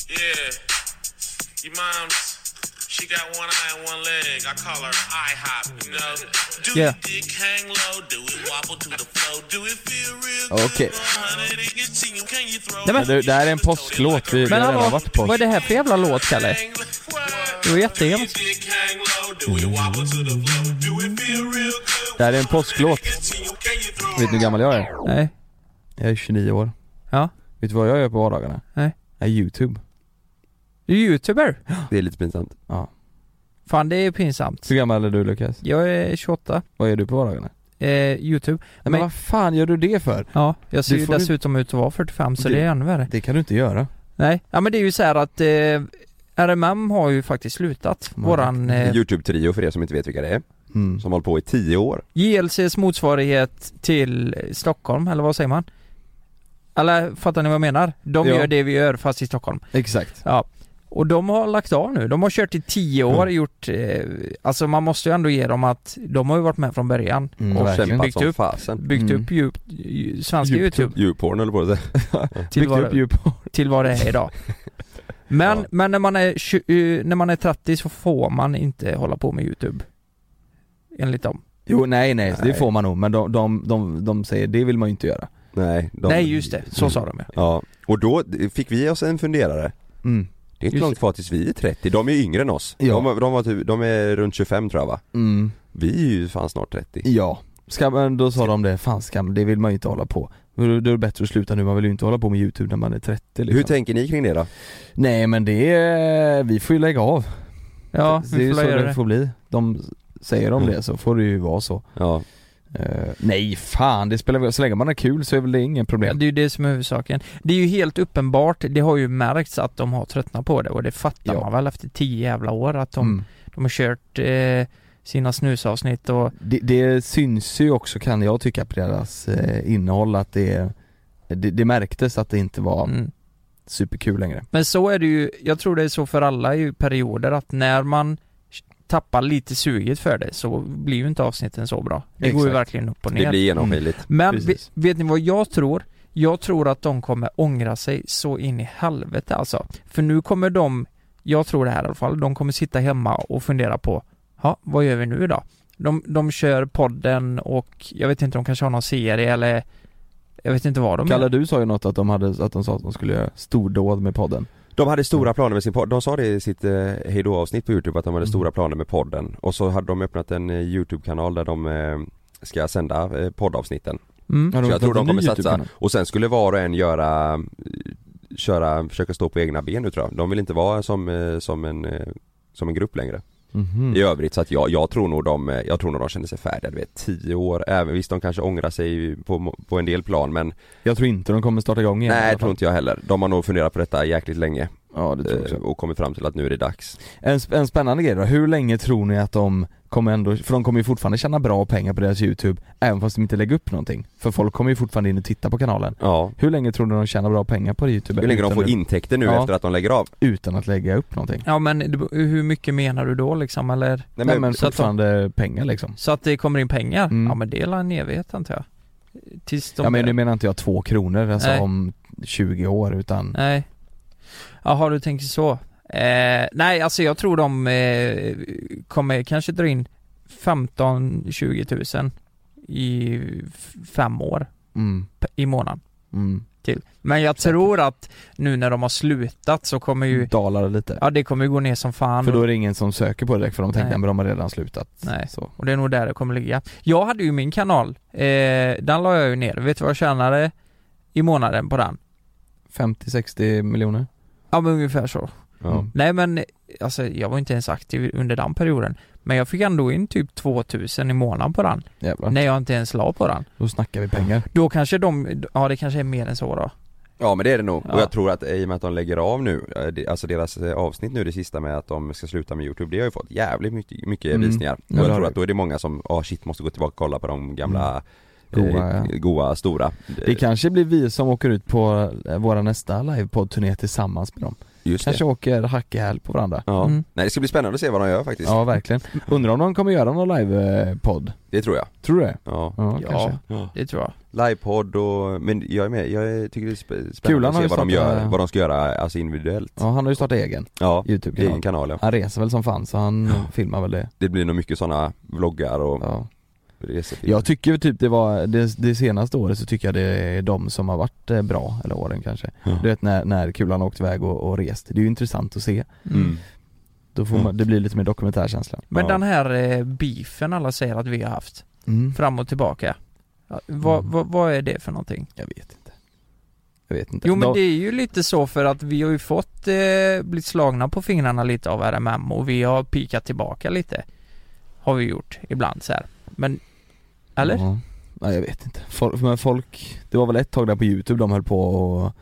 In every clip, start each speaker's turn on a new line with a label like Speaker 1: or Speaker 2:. Speaker 1: Yeah. Your mom's she got one eye and one leg. I call her IHOP, you know. Do
Speaker 2: Yeah.
Speaker 1: it dick hang low, do it wobble to the flow, do it feel real
Speaker 3: Okej.
Speaker 1: good. 100 it gets to you, can you throw
Speaker 2: Nej, men-
Speaker 3: Men du, det här är en påsklåt. Vi, vi
Speaker 2: Men
Speaker 3: har redan
Speaker 2: hallå,
Speaker 3: varit på
Speaker 2: vad är det här för jävla låt, Kalle?
Speaker 1: hang
Speaker 2: Det var jättehemskt.
Speaker 1: Dick hang low, do it wobble to the flow, do it feel real good.
Speaker 3: Det här är en påsklåt.
Speaker 1: Gets to you, can you throw
Speaker 3: Vet du hur gammal jag är?
Speaker 2: Nej.
Speaker 3: Jag är 29 år.
Speaker 2: Ja.
Speaker 3: Vet du vad jag gör på vardagarna?
Speaker 2: Nej.
Speaker 3: Jag är youtube.
Speaker 2: Du är youtuber.
Speaker 4: Det är lite pinsamt.
Speaker 3: Ja.
Speaker 2: Fan, det är pinsamt.
Speaker 3: Hur gammal är du Lukas?
Speaker 2: Jag är 28.
Speaker 3: Vad gör du på vardagarna?
Speaker 2: Eh, youtube.
Speaker 3: Men,
Speaker 2: Men-
Speaker 3: vad fan gör du det för?
Speaker 2: Ja, jag ser
Speaker 3: Du
Speaker 2: ju
Speaker 3: får ju-
Speaker 2: dessutom ut att vara 45 så
Speaker 3: Du-
Speaker 2: det är ännu värre.
Speaker 3: Det kan du inte göra.
Speaker 2: Nej, ja men det är ju så här att eh, RMM har ju faktiskt slutat.
Speaker 3: Man-
Speaker 2: Våran eh,
Speaker 4: Youtube-trio för er som inte vet vilka det är,
Speaker 3: Mm.
Speaker 4: som har hållit på i tio år.
Speaker 2: JLCs motsvarighet till eh, Stockholm, eller vad säger man? Eller fattar ni vad jag menar? De
Speaker 3: Ja.
Speaker 2: gör det vi gör fast i Stockholm.
Speaker 3: Exakt.
Speaker 2: Ja. Och de har lagt av nu. De har kört i tio år,
Speaker 3: Mm.
Speaker 2: gjort... Eh, alltså man måste ju ändå ge dem att de har ju varit med från början.
Speaker 3: Mm,
Speaker 4: Och
Speaker 3: verkligen.
Speaker 4: kämpat
Speaker 2: Byggt
Speaker 4: som
Speaker 2: upp.
Speaker 4: fasen.
Speaker 2: Byggt
Speaker 3: Mm.
Speaker 2: upp djup, ju, svenska
Speaker 3: Djupt
Speaker 2: YouTube
Speaker 4: Djurporn höll på att säga.
Speaker 2: till vad,
Speaker 3: djup.
Speaker 2: till vad det är idag. Men,
Speaker 4: Ja.
Speaker 2: men när, man är, tju- eh, när man är 30 så får man inte hålla på med YouTube. Enligt dem.
Speaker 3: Jo, nej, nej,
Speaker 2: Nej.
Speaker 3: det får man nog. Men de, de, de, de säger, det vill man ju inte göra.
Speaker 4: Nej, de...
Speaker 2: Nej just det, så sa de ju.
Speaker 4: Ja, och då fick vi oss en funderare.
Speaker 3: Mm.
Speaker 4: Det är inte
Speaker 2: Just
Speaker 4: långt kvar tills vi är 30, de är ju yngre än oss.
Speaker 3: Ja.
Speaker 4: De, de, var typ, de är runt 25 tror jag va?
Speaker 3: Mm.
Speaker 4: Vi är ju fan snart 30.
Speaker 3: Ja. Ska, men då sa de det, fan skam, det vill man ju inte hålla på. Då då är det bättre att sluta nu, man vill ju inte hålla på med YouTube när man är 30 liksom.
Speaker 4: Hur tänker ni kring det då?
Speaker 3: Nej men det, är- vi får ju lägga av.
Speaker 2: Ja,
Speaker 3: det är
Speaker 2: vi
Speaker 3: ju
Speaker 2: får
Speaker 3: så
Speaker 2: göra
Speaker 3: det,
Speaker 2: det.
Speaker 3: får bli. De säger om
Speaker 4: Mm.
Speaker 3: det så får det ju vara så.
Speaker 4: Ja,
Speaker 3: Eh, nej fan, det spelar väl, så länge man har kul så är väl det inget
Speaker 2: Ja,
Speaker 3: problem.
Speaker 2: det är ju det som är huvudsaken. Det är ju helt uppenbart, det har ju märkts att de har tröttnat på det och det fattar
Speaker 3: Ja.
Speaker 2: man väl efter tio jävla år att de,
Speaker 3: Mm.
Speaker 2: de har kört eh, sina snusavsnitt och
Speaker 3: Det, det syns ju också kan jag tycka på deras eh, innehåll att det, det, det märktes att det inte var
Speaker 2: mm.
Speaker 3: superkul längre.
Speaker 2: Men så är det ju, jag tror det är så för alla i perioder att när man tappar lite suget för det så blir ju inte avsnitten så bra. Det går ju
Speaker 3: Exakt.
Speaker 2: verkligen upp och ner.
Speaker 4: det blir genomskinligt.
Speaker 2: Men
Speaker 3: Precis.
Speaker 2: vet, vet ni vad jag tror? Jag tror att de kommer ångra sig så in i helvete alltså. För nu kommer de, jag tror det här i alla fall, de kommer sitta hemma och fundera på, ja, vad gör vi nu då? De, de kör podden och jag vet inte, de kanske har någon serie eller jag vet inte vad de
Speaker 3: Kalle
Speaker 2: gör.
Speaker 3: du sa ju något att de, hade, att de sa att de skulle göra stordåd med podden.
Speaker 4: De hade
Speaker 2: Mm.
Speaker 4: stora planer med sin podd, de sa det i sitt eh, hejdå-avsnitt på youtube att de hade
Speaker 3: Mm.
Speaker 4: stora planer med podden och så hade de öppnat en eh, youtube-kanal där de eh, ska sända eh, poddavsnitten.
Speaker 2: Mm.
Speaker 3: Ja,
Speaker 4: Så jag tror de
Speaker 3: en ny typ
Speaker 4: kommer satsa,
Speaker 3: YouTube-kanal.
Speaker 4: och sen skulle var och en göra eh, Köra, försöka stå på egna ben nu tror jag. De vill inte vara som, eh, som, en, eh, som en grupp längre.
Speaker 3: Mhm.
Speaker 4: I övrigt så att jag, jag tror nog de, eh, jag tror nog de känner sig färdiga, du vet, tio år. Även visst de kanske ångrar sig på, må- på en del plan men
Speaker 3: Jag tror inte de kommer starta igång igen i
Speaker 4: nej
Speaker 3: alla
Speaker 4: det tror
Speaker 3: fall.
Speaker 4: inte jag heller. De har nog funderat på detta jäkligt länge
Speaker 3: Ja det tror jag
Speaker 4: eh,
Speaker 3: också.
Speaker 4: och kommit fram till att nu är det dags.
Speaker 3: En, sp- en spännande grej då, hur länge tror ni att de kommer ändå, för de kommer ju fortfarande tjäna bra pengar på deras youtube även fast de inte lägger upp någonting. För folk kommer ju fortfarande in och titta på kanalen.
Speaker 4: Ja.
Speaker 3: Hur länge tror ni de tjänar bra pengar på youtube?
Speaker 4: Hur länge de
Speaker 3: utan
Speaker 4: får
Speaker 3: att-
Speaker 4: intäkter nu
Speaker 3: Ja.
Speaker 4: efter att de lägger av?
Speaker 3: Utan att lägga upp någonting.
Speaker 2: Ja men det- hur mycket menar du då liksom eller?
Speaker 3: Nej men,
Speaker 2: så att de-
Speaker 3: fortfarande pengar liksom.
Speaker 2: Så att det kommer in pengar?
Speaker 3: Mm.
Speaker 2: Ja men det är en evighet antar jag. Tills de
Speaker 3: ja men nu menar inte jag två kronor, alltså
Speaker 2: Nej.
Speaker 3: om 20 år utan
Speaker 2: Nej. Jaha, du tänker så. Eh, nej, alltså jag tror de eh, kommer kanske dra in 15-20 000 i f- fem år
Speaker 3: mm,
Speaker 2: p- i månaden
Speaker 3: mm,
Speaker 2: till. Men jag tror att nu när de har slutat så kommer ju,
Speaker 3: dalar lite.
Speaker 2: ja det kommer ju gå ner som fan.
Speaker 3: Mm. För då är det ingen som söker på det direkt för de tänker
Speaker 2: Nej.
Speaker 3: att de har redan slutat.
Speaker 2: Nej.
Speaker 3: Så.
Speaker 2: Och det är nog där det kommer ligga. Jag hade ju min kanal, eh, den la jag ju ner. Vet du vad jag tjänade i månaden på den?
Speaker 3: 50-60 miljoner?
Speaker 2: Ja men ungefär så.
Speaker 4: Ja.
Speaker 3: Mm.
Speaker 2: Nej men alltså jag var inte ens aktiv under den perioden. Men jag fick ändå in typ 2000 i månaden på den.
Speaker 3: Jävlar.
Speaker 2: När jag inte ens la på den.
Speaker 3: Då snackar vi pengar.
Speaker 2: Då kanske de, ja det kanske är mer än så då.
Speaker 4: Ja men det är det nog,
Speaker 2: Ja.
Speaker 4: och jag tror att eh, i och med att de lägger av nu, eh, det- alltså deras eh, avsnitt nu det sista med att de ska sluta med youtube, det har ju fått jävligt mycket, mycket
Speaker 3: Mm.
Speaker 4: visningar
Speaker 3: Ja, det
Speaker 4: Och jag
Speaker 3: har
Speaker 4: tror
Speaker 3: det.
Speaker 4: att då är det många som, ja shit måste gå tillbaka och kolla på de gamla
Speaker 3: Mm.
Speaker 4: eh,
Speaker 3: Goa, ja.
Speaker 4: goa stora
Speaker 3: Det kanske blir vi som åker ut på eh, våra nästa livepodd-turné tillsammans med dem.
Speaker 4: Just
Speaker 3: Kanske
Speaker 4: det.
Speaker 3: åker hack i häl på varandra.
Speaker 4: Ja.
Speaker 2: Mm.
Speaker 4: Nej det ska bli spännande att se vad de gör faktiskt.
Speaker 3: Ja verkligen. Undrar om de kommer göra någon livepodd?
Speaker 4: Det tror jag.
Speaker 3: Tror du det?
Speaker 4: Ja.
Speaker 3: Ja, kanske.
Speaker 2: det tror jag.
Speaker 4: Livepodd och, men jag är med, jag tycker det är sp- spännande
Speaker 3: Kulan
Speaker 4: att
Speaker 3: har
Speaker 4: se
Speaker 3: ju
Speaker 4: vad de
Speaker 3: startat-
Speaker 4: gör, vad de ska göra alltså individuellt.
Speaker 3: Ja han har ju startat egen
Speaker 4: Ja,
Speaker 3: YouTube-kanal.
Speaker 4: egen kanal ja.
Speaker 3: Han reser väl som fan så han filmar väl det.
Speaker 4: Det blir nog mycket sådana vloggar och
Speaker 3: Ja.
Speaker 4: resefilmer.
Speaker 3: Jag tycker typ det var, det, det senaste året så tycker jag det är de som har varit eh, bra, eller åren kanske.
Speaker 4: Ja.
Speaker 3: Du vet när, när kulan har åkt iväg och, och rest, det är ju intressant att se.
Speaker 4: Mm.
Speaker 3: Då får man, det blir lite mer dokumentärkänsla.
Speaker 2: Men
Speaker 4: Ja.
Speaker 2: den här eh, beefen alla säger att vi har haft,
Speaker 3: Mm.
Speaker 2: fram och tillbaka. Ja, vad,
Speaker 3: Mm.
Speaker 2: vad, vad är det för någonting?
Speaker 3: Jag vet inte. Jag vet inte.
Speaker 2: Jo men
Speaker 3: De-
Speaker 2: det är ju lite så för att vi har ju fått, eh, blivit slagna på fingrarna lite av RMM och vi har pikat tillbaka lite. Har vi gjort ibland så här. Men, eller?
Speaker 3: Ja. Nej jag vet inte. Folk, men folk, det var väl ett tag där på youtube de höll på och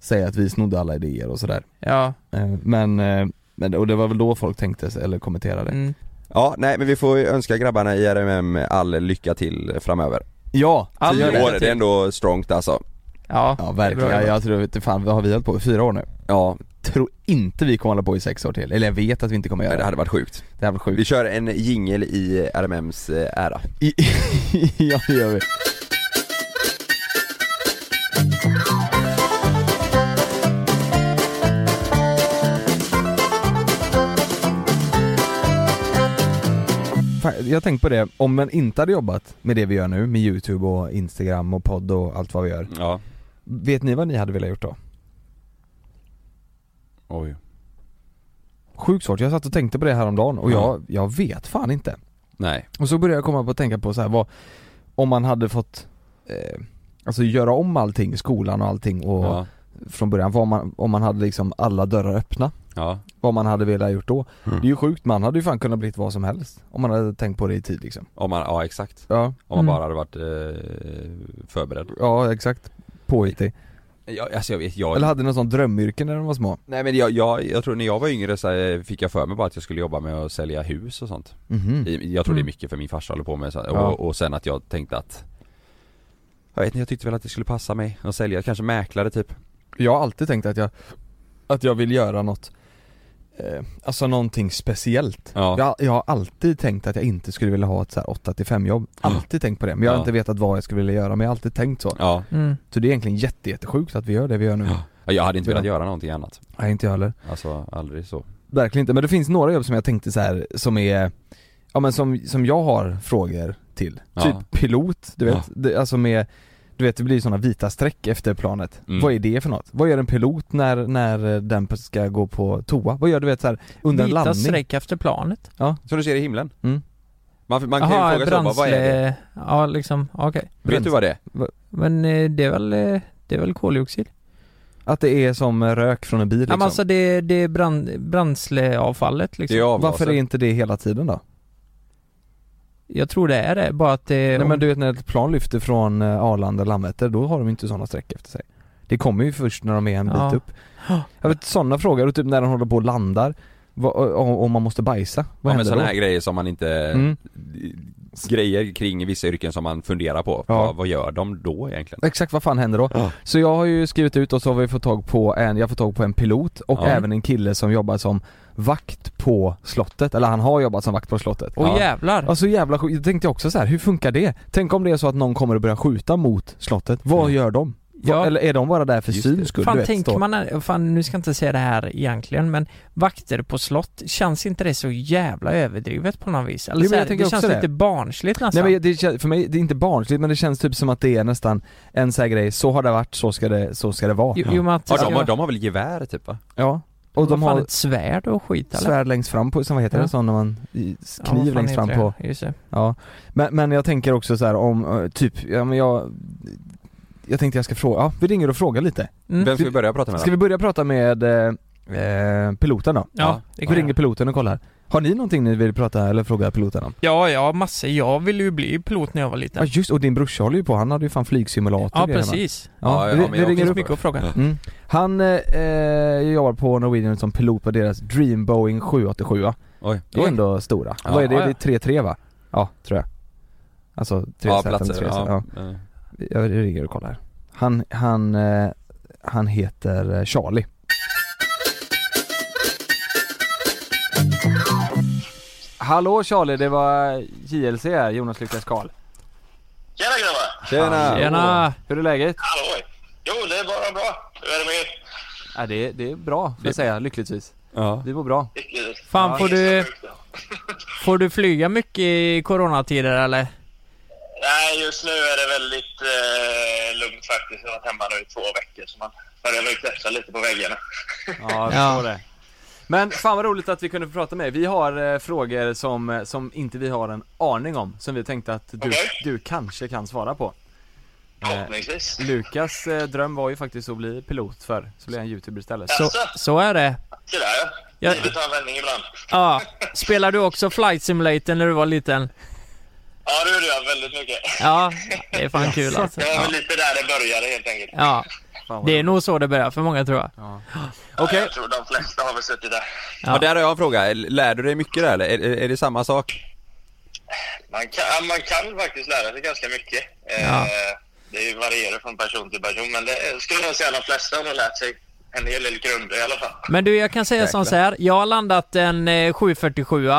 Speaker 3: säga att vi snodde alla idéer och sådär.
Speaker 2: Ja.
Speaker 3: Eh, Men, eh, men, och det var väl då folk tänkte sig- eller kommenterade.
Speaker 2: Mm.
Speaker 4: Ja, nej men vi får ju önska grabbarna i RMM all lycka till framöver.
Speaker 3: Ja!
Speaker 2: All
Speaker 3: så gör
Speaker 4: Tio
Speaker 2: lycka
Speaker 4: år,
Speaker 3: det.
Speaker 2: till.
Speaker 4: det är ändå strongt alltså.
Speaker 2: Ja.
Speaker 3: Ja
Speaker 2: Det
Speaker 3: verkligen,
Speaker 2: är bra.
Speaker 3: jag, jag tror, inte fan vad har vi hållit på i? Fyra år nu?
Speaker 4: Ja,
Speaker 3: Tror inte vi kommer hålla på i sex år till, eller jag vet att vi inte kommer göra
Speaker 4: men
Speaker 3: det.
Speaker 4: det hade varit sjukt.
Speaker 3: Det hade varit
Speaker 4: Vi
Speaker 3: sjukt.
Speaker 4: kör en jingel i RMMs eh, ära.
Speaker 3: I- ja det gör vi. Fan, Jag har tänkt på det, om man inte hade jobbat med det vi gör nu, med youtube och instagram och podd och allt vad vi gör
Speaker 4: Ja.
Speaker 3: Vet ni vad ni hade velat gjort då?
Speaker 5: Oj.
Speaker 3: Sjukt svårt, jag satt och tänkte på det här om dagen och jag, jag vet fan inte
Speaker 5: Nej.
Speaker 3: Och så började jag komma på att tänka på så här, vad Om man hade fått eh, Alltså göra om allting, skolan och allting och
Speaker 5: Ja.
Speaker 3: från början, vad man, om man hade liksom alla dörrar öppna
Speaker 5: Ja.
Speaker 3: Vad man hade velat gjort då
Speaker 4: Mm.
Speaker 3: Det är ju sjukt, man hade ju fan kunnat blivit vad som helst Om man hade tänkt på det i tid liksom
Speaker 4: Om man, ja exakt.
Speaker 3: Ja,
Speaker 4: Om man
Speaker 2: Mm.
Speaker 4: bara hade varit eh, förberedd.
Speaker 3: ja exakt Påhittig
Speaker 4: Jag, alltså jag vet, jag...
Speaker 3: Eller hade någon sån drömyrke när de var små
Speaker 4: Nej men jag, jag, jag tror när jag var yngre så här, fick jag för mig bara att jag skulle jobba med att sälja hus och sånt.
Speaker 3: Mhm.
Speaker 4: I- Jag tror det är
Speaker 2: Mm.
Speaker 4: mycket för min farsa håller på med så här,
Speaker 3: Ja.
Speaker 4: och, och sen att jag tänkte att jag vet inte, jag tyckte väl att det skulle passa mig att sälja, kanske mäklare typ
Speaker 3: Jag har alltid tänkt att jag Att jag vill göra något eh, Alltså någonting speciellt
Speaker 4: Ja,
Speaker 3: Jag, jag har alltid tänkt att jag inte skulle vilja ha ett så här 8 till 5 jobb, alltid tänkt på det men jag har
Speaker 4: Mm. Ja.
Speaker 3: inte vetat vad jag skulle vilja göra men jag har alltid tänkt så
Speaker 4: ja.
Speaker 2: Mm.
Speaker 3: Så det är egentligen jätte, jättesjukt att vi gör det vi gör nu
Speaker 4: Ja. jag hade inte velat
Speaker 3: Ja.
Speaker 4: göra någonting annat
Speaker 3: Nej inte jag heller
Speaker 4: Alltså aldrig så
Speaker 3: Verkligen inte, men det finns några jobb som jag tänkte så här som är Ja men som, som jag har frågor till,
Speaker 4: Ja.
Speaker 3: typ pilot, du vet,
Speaker 4: Ja.
Speaker 3: det, alltså med Du vet det blir sådana vita streck efter planet,
Speaker 4: Mm.
Speaker 3: vad är det för något? Vad gör en pilot när, när den ska gå på toa? Vad gör du vet så här under en
Speaker 2: Vita
Speaker 3: landning?
Speaker 2: streck efter planet.
Speaker 4: Som du ser i himlen
Speaker 3: Mm.
Speaker 4: Man, man kan ju fråga sig bara, vad är det?
Speaker 2: Ja liksom, okej.
Speaker 4: Vet du vad det är?
Speaker 2: Men eh, det är väl, eh, det är väl koldioxid?
Speaker 3: Liksom. Att det är som rök från en bil
Speaker 2: Ja
Speaker 3: liksom.
Speaker 2: men alltså det, det är brand, bränsleavfallet liksom.
Speaker 4: Det är avgaser
Speaker 3: Varför är inte det hela tiden då?
Speaker 2: Jag tror det är det, bara att det...
Speaker 3: Nej men du vet när ett plan lyfter från eh, Arlanda eller Landvetter, då har de inte sådana streck efter sig Det kommer ju först när de är en bit
Speaker 2: Ja.
Speaker 3: upp Jag vet sådana frågor, och typ när de håller på och landar vad, och, om man måste bajsa, vad
Speaker 4: Ja men
Speaker 3: händer
Speaker 4: sådana
Speaker 3: då?
Speaker 4: här grejer som man inte
Speaker 3: Mm.
Speaker 4: Grejer kring vissa yrken som man funderar på,
Speaker 3: Ja.
Speaker 4: vad, vad gör de då egentligen?
Speaker 3: Exakt vad fan händer då?
Speaker 4: Ja.
Speaker 3: Så jag har ju skrivit ut och så har vi fått tag på en, jag har fått tag på en pilot och
Speaker 4: Ja.
Speaker 3: även en kille som jobbar som vakt på slottet, eller han har jobbat som vakt på slottet
Speaker 2: Åh
Speaker 4: Ja.
Speaker 2: jävlar!
Speaker 3: Alltså jävla sjukt, jag tänkte också så här, hur funkar det? Tänk om det är så att någon kommer att börja skjuta mot slottet, vad
Speaker 4: Mm.
Speaker 3: gör de? Va-
Speaker 2: Ja.
Speaker 3: Eller är de bara där för
Speaker 4: Just det.
Speaker 3: syns skull?
Speaker 2: fan
Speaker 3: du vet,
Speaker 2: tänker
Speaker 3: stå-
Speaker 2: man, när- fan nu ska jag inte säga det här egentligen men vakter på slott, känns inte det så jävla överdrivet på något vis? Eller
Speaker 3: Jo, men
Speaker 2: så här,
Speaker 3: jag tänker
Speaker 2: det känns
Speaker 3: också det.
Speaker 2: lite barnsligt
Speaker 3: Nej
Speaker 2: nästan.
Speaker 3: men det, kän- för mig, det är inte barnsligt men det känns typ som att det är nästan en sån här grej, så har det varit, så ska det, så ska det vara
Speaker 2: jo, jo, men att,
Speaker 4: Ja, de, har- de har väl gevär typ va?
Speaker 3: Ja, och de har
Speaker 2: ett svärd och skit eller?
Speaker 3: svärd längst fram på, som vad heter
Speaker 2: Ja.
Speaker 3: det, sån när man, i-
Speaker 2: Ja, vad
Speaker 3: kniv
Speaker 2: fan
Speaker 3: längst
Speaker 2: heter
Speaker 3: fram
Speaker 2: det?
Speaker 3: på
Speaker 2: Just det.
Speaker 3: Ja, men, men jag tänker också så här om, eh, typ, ja men jag Jag tänkte jag ska fråga, ja vi ringer och frågar lite
Speaker 2: Mm.
Speaker 4: Vem ska vi börja prata med?
Speaker 3: Ska vi börja prata med eh, eh, piloten då?
Speaker 2: Ja, det
Speaker 3: Vi
Speaker 2: kan
Speaker 3: ringer
Speaker 2: jag.
Speaker 3: piloten och kollar Har ni någonting ni vill prata eller fråga piloten om?
Speaker 2: ja, ja massor. Jag ville ju bli pilot när jag var
Speaker 3: Ja
Speaker 2: liten.
Speaker 3: just och din brorsa håller ju på, han hade ju fan flygsimulator
Speaker 2: Ja,
Speaker 3: och grejer, va?
Speaker 2: precis.
Speaker 3: Ja,
Speaker 4: Ja, ja,
Speaker 3: vi,
Speaker 4: men
Speaker 3: vi
Speaker 4: jag
Speaker 3: ringer
Speaker 2: Det finns
Speaker 3: upp
Speaker 2: mycket att fråga.
Speaker 3: mm. Han eh, eh, jobbar på Norwegian som pilot på deras Dream Boeing 787 va?
Speaker 4: Oj,
Speaker 3: Det är ändå stora.
Speaker 4: Ja,
Speaker 3: Vad är det?
Speaker 2: ja.
Speaker 3: Det är 3-3 va? Ja, tror jag Alltså 3
Speaker 4: ja
Speaker 3: ja,
Speaker 4: platser, ja. Ja.
Speaker 3: Jag ringer och kollar. Han, han, eh, han heter eh, Charlie Hallå Charlie, det var eh, JLC här, Jonas Lukas Karl.
Speaker 6: Tjena grabbar!
Speaker 4: Tjena!
Speaker 2: Tjena!
Speaker 3: Hur är läget?
Speaker 6: Hallå! Jo, det är bara bra. Hur är det med er?
Speaker 3: Ja, det, det är bra får jag säga, lyckligtvis.
Speaker 7: Ja.
Speaker 3: Vi mår bra.
Speaker 6: Riktigt.
Speaker 2: Fan, får du,
Speaker 6: Sjukt, ja.
Speaker 2: får du flyga mycket i coronatider eller?
Speaker 6: Nej, just nu är det väldigt eh, lugnt faktiskt. Jag har varit hemma nu i två veckor så man börjar väl klättra lite på väggarna.
Speaker 3: Ja, jag
Speaker 2: Ja.
Speaker 3: förstår det. Men fan vad roligt att vi kunde få prata med dig. Vi har eh, frågor som, som inte vi har en aning om, som vi tänkte att du,
Speaker 6: Okej.
Speaker 3: du kanske kan svara på. Eh,
Speaker 6: Förhoppningsvis.
Speaker 3: Lukas eh, dröm var ju faktiskt att bli pilot för, så blev han youtuber istället.
Speaker 2: Så, så är det.
Speaker 6: Se där ja.
Speaker 2: Ja.
Speaker 6: Livet tar en vändning ibland.
Speaker 2: Ja. Spelade du också Flight Simulator när du var liten?
Speaker 6: Ja, det gjorde jag väldigt mycket.
Speaker 2: Ja, det är fan kul alltså.
Speaker 6: Det var
Speaker 2: Ja.
Speaker 6: väl lite där det började helt enkelt.
Speaker 2: ja.
Speaker 3: Fan vad
Speaker 2: Det är
Speaker 3: roligt.
Speaker 2: nog så det börjar för många tror jag.
Speaker 3: Okej,
Speaker 6: Jag tror de flesta har väl suttit där.
Speaker 4: Ja. där har jag en fråga. Lär du dig mycket där eller? Är, är är det samma sak?
Speaker 6: Man kan, ja, man kan faktiskt lära sig ganska mycket. Eh,
Speaker 2: Ja.
Speaker 6: Det varierar från person till person, men det skulle jag säga de flesta har nog lärt sig en hel del grunder i alla fall.
Speaker 2: Men du, jag kan säga som så här. Jag har landat en eh, 747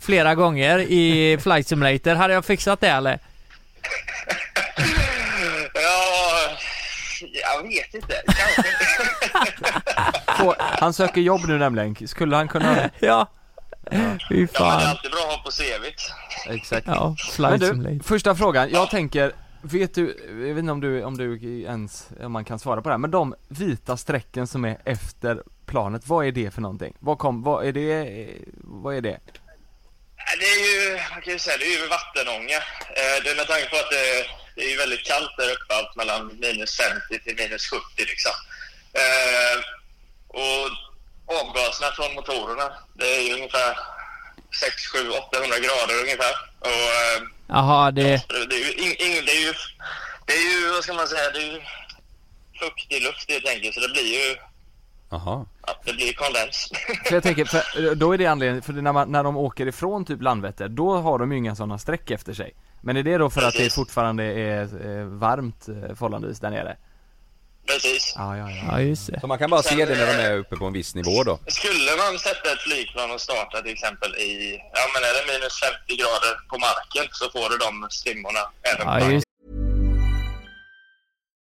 Speaker 2: flera gånger i Flight Simulator. Hade jag fixat det eller?
Speaker 6: Ja, jag vet inte. Kanske inte.
Speaker 3: få- han söker jobb nu nämligen. Skulle han kunna...
Speaker 2: Ja. Fy
Speaker 6: Ja, men det är
Speaker 2: fan.
Speaker 6: alltid bra att ha på CVt.
Speaker 3: Exakt.
Speaker 2: Ja,
Speaker 3: Men
Speaker 2: Flight
Speaker 3: du,
Speaker 2: Simulator.
Speaker 3: första frågan. Jag tänker, vet du, jag vet inte om du, om du ens, om man kan svara på det här, men de vita strecken som är efter planet, vad är det för någonting? Vad kom, vad är det, eh, vad är det?
Speaker 6: Ja, Det är ju, man kan ju säga, det är ju vattenånga. Eh, Det är med tanke på att det, det är ju väldigt kallt där uppe, allt mellan minus 50 till minus 70 liksom. Eh, Och avgaserna från motorerna, det är ju ungefär 6, 7, 800 grader ungefär. Och eh,
Speaker 2: Jaha, det...
Speaker 6: det är ju, in, in, det är ju, det är ju, vad ska man säga, det är ju fuktig luft helt enkelt, så det blir ju
Speaker 4: Jaha.
Speaker 6: Ja, det blir kondens.
Speaker 3: För jag tänker, för, eh, då är det anledningen, för när, man, när de åker ifrån typ Landvetter, då har de ju inga sådana streck efter sig. Men är det då för att det fortfarande är eh, varmt eh, förhållandevis där nere?
Speaker 6: Precis.
Speaker 3: Ja, ja, ja.
Speaker 2: Ja, just det.
Speaker 4: Så man kan bara se det när de är uppe på en viss nivå då?
Speaker 6: Skulle man sätta ett flygplan och starta till exempel i, ja men är det minus 50 grader på marken så får du de stimmorna även på
Speaker 2: Ja,
Speaker 6: marken.
Speaker 2: just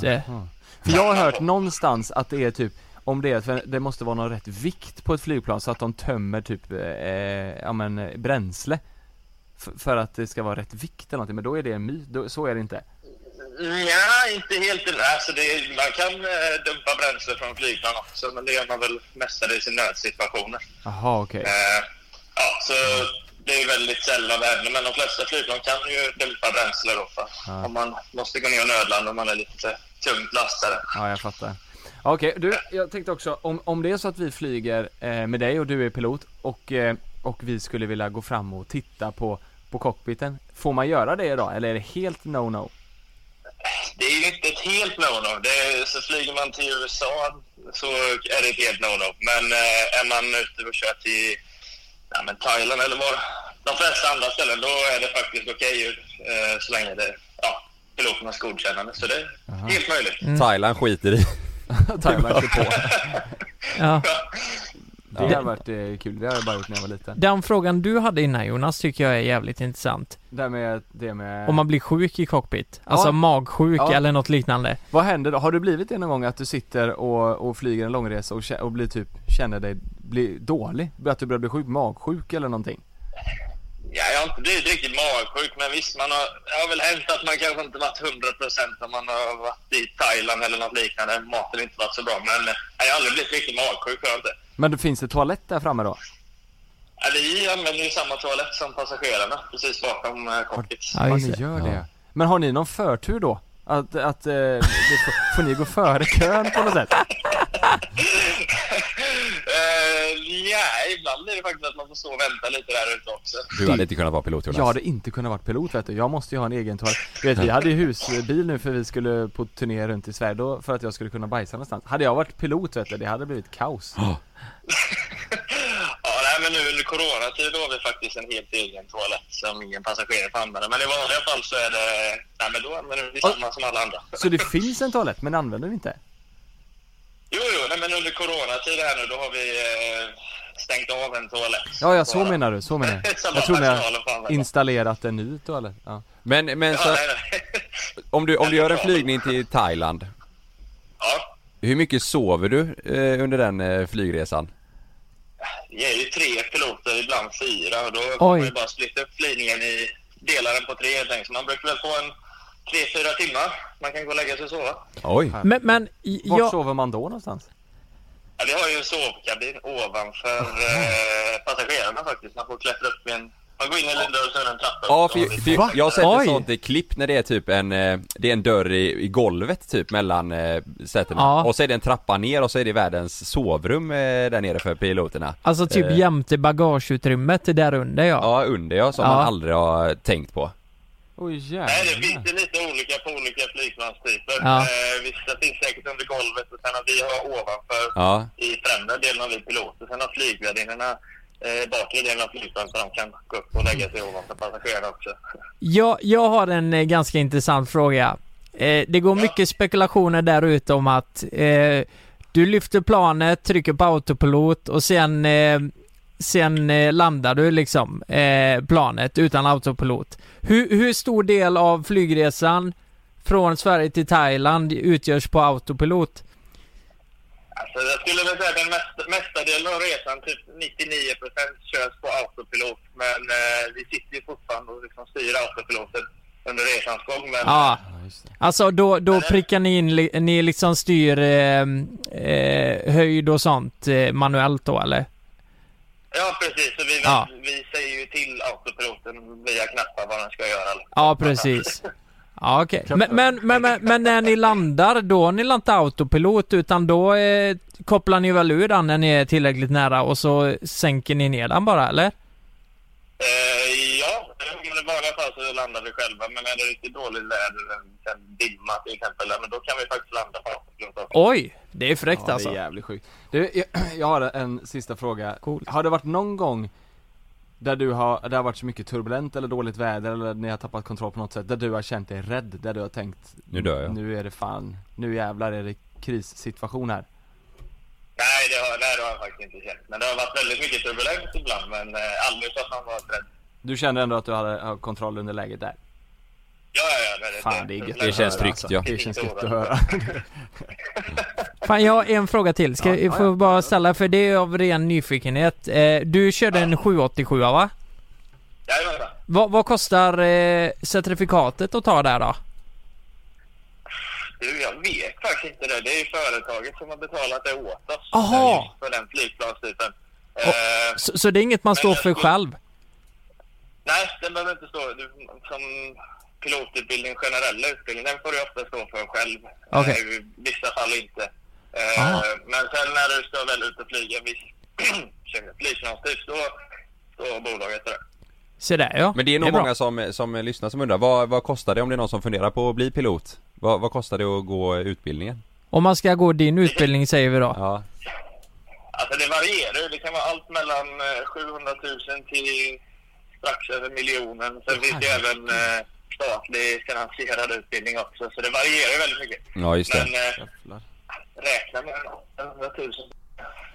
Speaker 2: det.
Speaker 3: För jag har hört någonstans att det är typ om det är, för det måste vara någon rätt vikt på ett flygplan så att de tömmer typ, eh, ja men eh, bränsle F- För att det ska vara rätt vikt eller någonting, men då är det en myt, då, så är det inte
Speaker 6: Nja, inte helt. Alltså det, man kan eh, dumpa bränsle från flygplan också men det gör man väl mestadels i nödsituationer.
Speaker 3: Jaha okej,
Speaker 6: Eh, ja, så det är väldigt sällan ännu men de flesta flygplan kan ju dumpa bränsle då för om man måste gå ner och nödlanda om man är lite tungt lastade.
Speaker 3: ja jag fattar Ja, Okej, du, jag tänkte också, om, om det är så att vi flyger eh, med dig och du är pilot och, eh, och vi skulle vilja gå fram och titta på, på cockpiten Får man göra det idag eller är det helt no-no?
Speaker 6: Det är ju inte ett helt no-no. Det är, så flyger man till USA så är det ett helt no-no. Men eh, är man ute och kör till ja, men Thailand eller var, de flesta andra ställen, då är det faktiskt okej eh, så länge det ja, piloternas godkännande. Så det är helt möjligt.
Speaker 4: Thailand skiter i.
Speaker 3: Thailand kör på,
Speaker 2: Ja.
Speaker 3: det har varit eh, kul, det har jag bara gjort när jag var liten
Speaker 2: Den frågan du hade innan Jonas tycker jag är jävligt intressant.
Speaker 3: Det här med, det med
Speaker 2: Om man blir sjuk i cockpit. Alltså
Speaker 3: Ja.
Speaker 2: magsjuk
Speaker 3: Ja.
Speaker 2: eller något liknande.
Speaker 3: Vad händer då? Har du blivit det någon gång att du sitter och, och flyger en långresa och, kä- och blir typ, känner dig, blir dålig? Att du börjar bli sjuk, magsjuk eller någonting?
Speaker 6: Ja, jag har inte blivit riktigt magsjuk, men visst, man har, det har väl hänt att man kanske inte varit 100 procent om man har varit i Thailand eller något liknande. Maten har inte varit så bra, men eh, jag har aldrig blivit riktigt magsjuk. Har jag inte.
Speaker 3: Men det finns det toalett där framme då?
Speaker 6: Ja, vi använder ju samma toalett som passagerarna, precis bakom eh, cockpit.
Speaker 2: Ja, just
Speaker 3: Ja, ni
Speaker 2: det.
Speaker 3: Alltså, gör det. Men har ni någon förtur då? Att, att, eh, det får, får ni gå före kön på något sätt?
Speaker 6: Eh, nej, ibland blir det faktiskt att man får stå och vänta lite där ute också.
Speaker 4: Du hade inte kunnat vara pilot Jonas.
Speaker 3: Jag hade inte kunnat vara pilot vet du, jag måste ju ha en egen toalett Du vet vi hade ju husbil nu för vi skulle på turné runt i Sverige då, för att jag skulle kunna bajsa någonstans Hade jag varit pilot vet du, det hade blivit kaos
Speaker 6: Ja, nej, men nu under coronatid har vi faktiskt en helt egen toalett som ingen passagerare får använda. Men i vanliga fall så är det... Nej, men då använder vi samma som alla andra.
Speaker 3: Så det finns en toalett men använder vi inte?
Speaker 6: Jo, jo, nej, men under coronatid här nu då har vi eh, stängt av en toalett.
Speaker 3: Ja, ja så menar du, så menar jag
Speaker 6: Samma
Speaker 3: Jag tror ni
Speaker 6: personal får
Speaker 3: har
Speaker 6: använda.
Speaker 3: installerat en ny toalett, ja.
Speaker 4: Men, men så
Speaker 6: Ja,
Speaker 4: att,
Speaker 6: nej, nej.
Speaker 4: om du, om du gör en flygning till Thailand,
Speaker 6: ja,
Speaker 4: hur mycket sover du eh, under den eh, flygresan?
Speaker 6: vi är ju tre piloter, ibland fyra. Och då får man
Speaker 2: Oj.
Speaker 6: ju bara splitta upp flygningen i delar den på tre helt enkelt. Så man brukar väl få en tre, fyra timmar. Man kan gå och lägga sig och sova.
Speaker 4: Oj!
Speaker 2: Men, men i-
Speaker 3: Vart
Speaker 2: jag,
Speaker 3: sover man då någonstans?
Speaker 6: Ja, vi har ju en sovkabin ovanför eh, passagerarna faktiskt. Man får klättra upp i en... Man går in i en dörr och sen en trappa.
Speaker 4: Ja,
Speaker 6: upp.
Speaker 4: för,
Speaker 6: Så har vi-
Speaker 4: för jag har sett
Speaker 2: Oj.
Speaker 4: ett sånt eh, klipp när det är typ en, eh, det är en dörr i, i golvet typ mellan eh, sätena.
Speaker 2: Ja.
Speaker 4: Och så är det en trappa ner och så är det världens sovrum eh, där nere för piloterna.
Speaker 2: alltså typ
Speaker 4: Eh.
Speaker 2: jämte bagageutrymmet där under ja.
Speaker 4: Ja, under ja, som
Speaker 2: Ja.
Speaker 4: man aldrig har tänkt på.
Speaker 3: Oj
Speaker 6: Nej, det finns
Speaker 3: jävlar
Speaker 6: ju lite olika på olika flygplanstyper.
Speaker 2: Ja.
Speaker 6: Eh, vissa finns säkert under golvet och sen har vi har ovanför
Speaker 4: Ja.
Speaker 6: i främre delen av vi piloter. Sen har flygvärdinnorna eh, bakre delen av flygplanet så de kan gå upp och lägga sig ovanför passagerarna också.
Speaker 2: Jag, jag har en eh, ganska intressant fråga. Eh, det går mycket spekulationer där ute om att eh, du lyfter planet, trycker på autopilot och sen, eh, sen eh, landar du liksom eh, planet utan autopilot. Hur, hur stor del av flygresan från Sverige till Thailand utgörs på autopilot?
Speaker 6: Alltså, jag skulle väl säga att den mesta, mesta delen av resan, typ 99 procent, körs på autopilot. Men eh, vi sitter ju fortfarande och liksom styr autopiloten under resans gång. Men
Speaker 2: Ja,
Speaker 3: Ja, just det.
Speaker 2: alltså då, då prickar ni in, li- ni liksom styr eh, eh, höjd och sånt eh, manuellt då eller?
Speaker 6: ja, precis. Så vi,
Speaker 2: Ja.
Speaker 6: vi säger ju till autopiloten via knappar vad den ska göra.
Speaker 2: Ja, precis. Ja, okej. Men, men, men, men, men när ni landar, då har ni väl inte autopilot utan då eh, kopplar ni väl ur den när ni är tillräckligt nära och så sänker ni ner den bara, eller?
Speaker 6: Eh, ja, men i vanliga fall så landar vi själva. Men är det riktigt dåligt väder, en dimma till exempel, ja, men då kan vi faktiskt landa på autopilot också.
Speaker 2: Oj! Det är fräckt
Speaker 3: Ja, det
Speaker 2: alltså.
Speaker 3: är jävligt sjukt Du, jag- jag har en sista fråga
Speaker 2: Coolt.
Speaker 3: Har det varit någon gång där du har, där det har varit så mycket turbulent eller dåligt väder eller ni har tappat kontroll på något sätt, där du har känt dig rädd, där du har tänkt
Speaker 4: Nu dör jag.
Speaker 3: Nu är det fan, nu jävlar är det krissituation här
Speaker 6: Nej, det har, nej, det har jag faktiskt inte känt. Men det har varit väldigt mycket turbulens ibland, men eh, aldrig så att man varit rädd.
Speaker 3: Du kände ändå att du hade har kontroll under läget där?
Speaker 6: Ja, ja, ja. Det, Alltså,
Speaker 3: Fan det är gött alltså.
Speaker 4: Det
Speaker 6: turbulens.
Speaker 4: känns tryggt, ja.
Speaker 3: Det känns gött att höra
Speaker 2: Fan, jag har en fråga till. Ska,
Speaker 3: Ja,
Speaker 2: får
Speaker 3: ja.
Speaker 2: bara ställa, för det är av ren nyfikenhet. Eh, du körde en 787 va?
Speaker 6: Jajamän.
Speaker 2: Vad, vad kostar eh, certifikatet att ta där då?
Speaker 6: Du, jag vet faktiskt inte det. Det är ju företaget som har betalat det åt oss.
Speaker 2: Aha.
Speaker 6: eh, just För den flygplanstypen. Eh,
Speaker 2: Så, så det är inget man står för själv?
Speaker 6: nej, den behöver inte stå. Du, som pilotutbildning, generella utbildning, den får du ofta stå för själv. Eh,
Speaker 2: Okej.
Speaker 6: I vissa fall inte. Eh,
Speaker 2: Aha.
Speaker 6: men sen när du ska väl ut och flyga en viss ursäkta, flygplanstyp, då står bolaget för det.
Speaker 2: Så där ja.
Speaker 4: Men det är nog
Speaker 2: bra.
Speaker 4: många som, som lyssnar som undrar, vad, vad kostar det om det är någon som funderar på att bli pilot? Vad, vad kostar det att gå utbildningen?
Speaker 2: Om man ska gå din utbildning säger vi då.
Speaker 4: Ja.
Speaker 6: Alltså det varierar ju. Det kan vara allt mellan eh, 700 000 till strax över miljonen. Sen finns det ju även eh, statlig finansierad utbildning också. Så det varierar ju väldigt mycket.
Speaker 4: ja, just det.
Speaker 6: Men eh,
Speaker 3: Jävlar.
Speaker 6: räkna med 800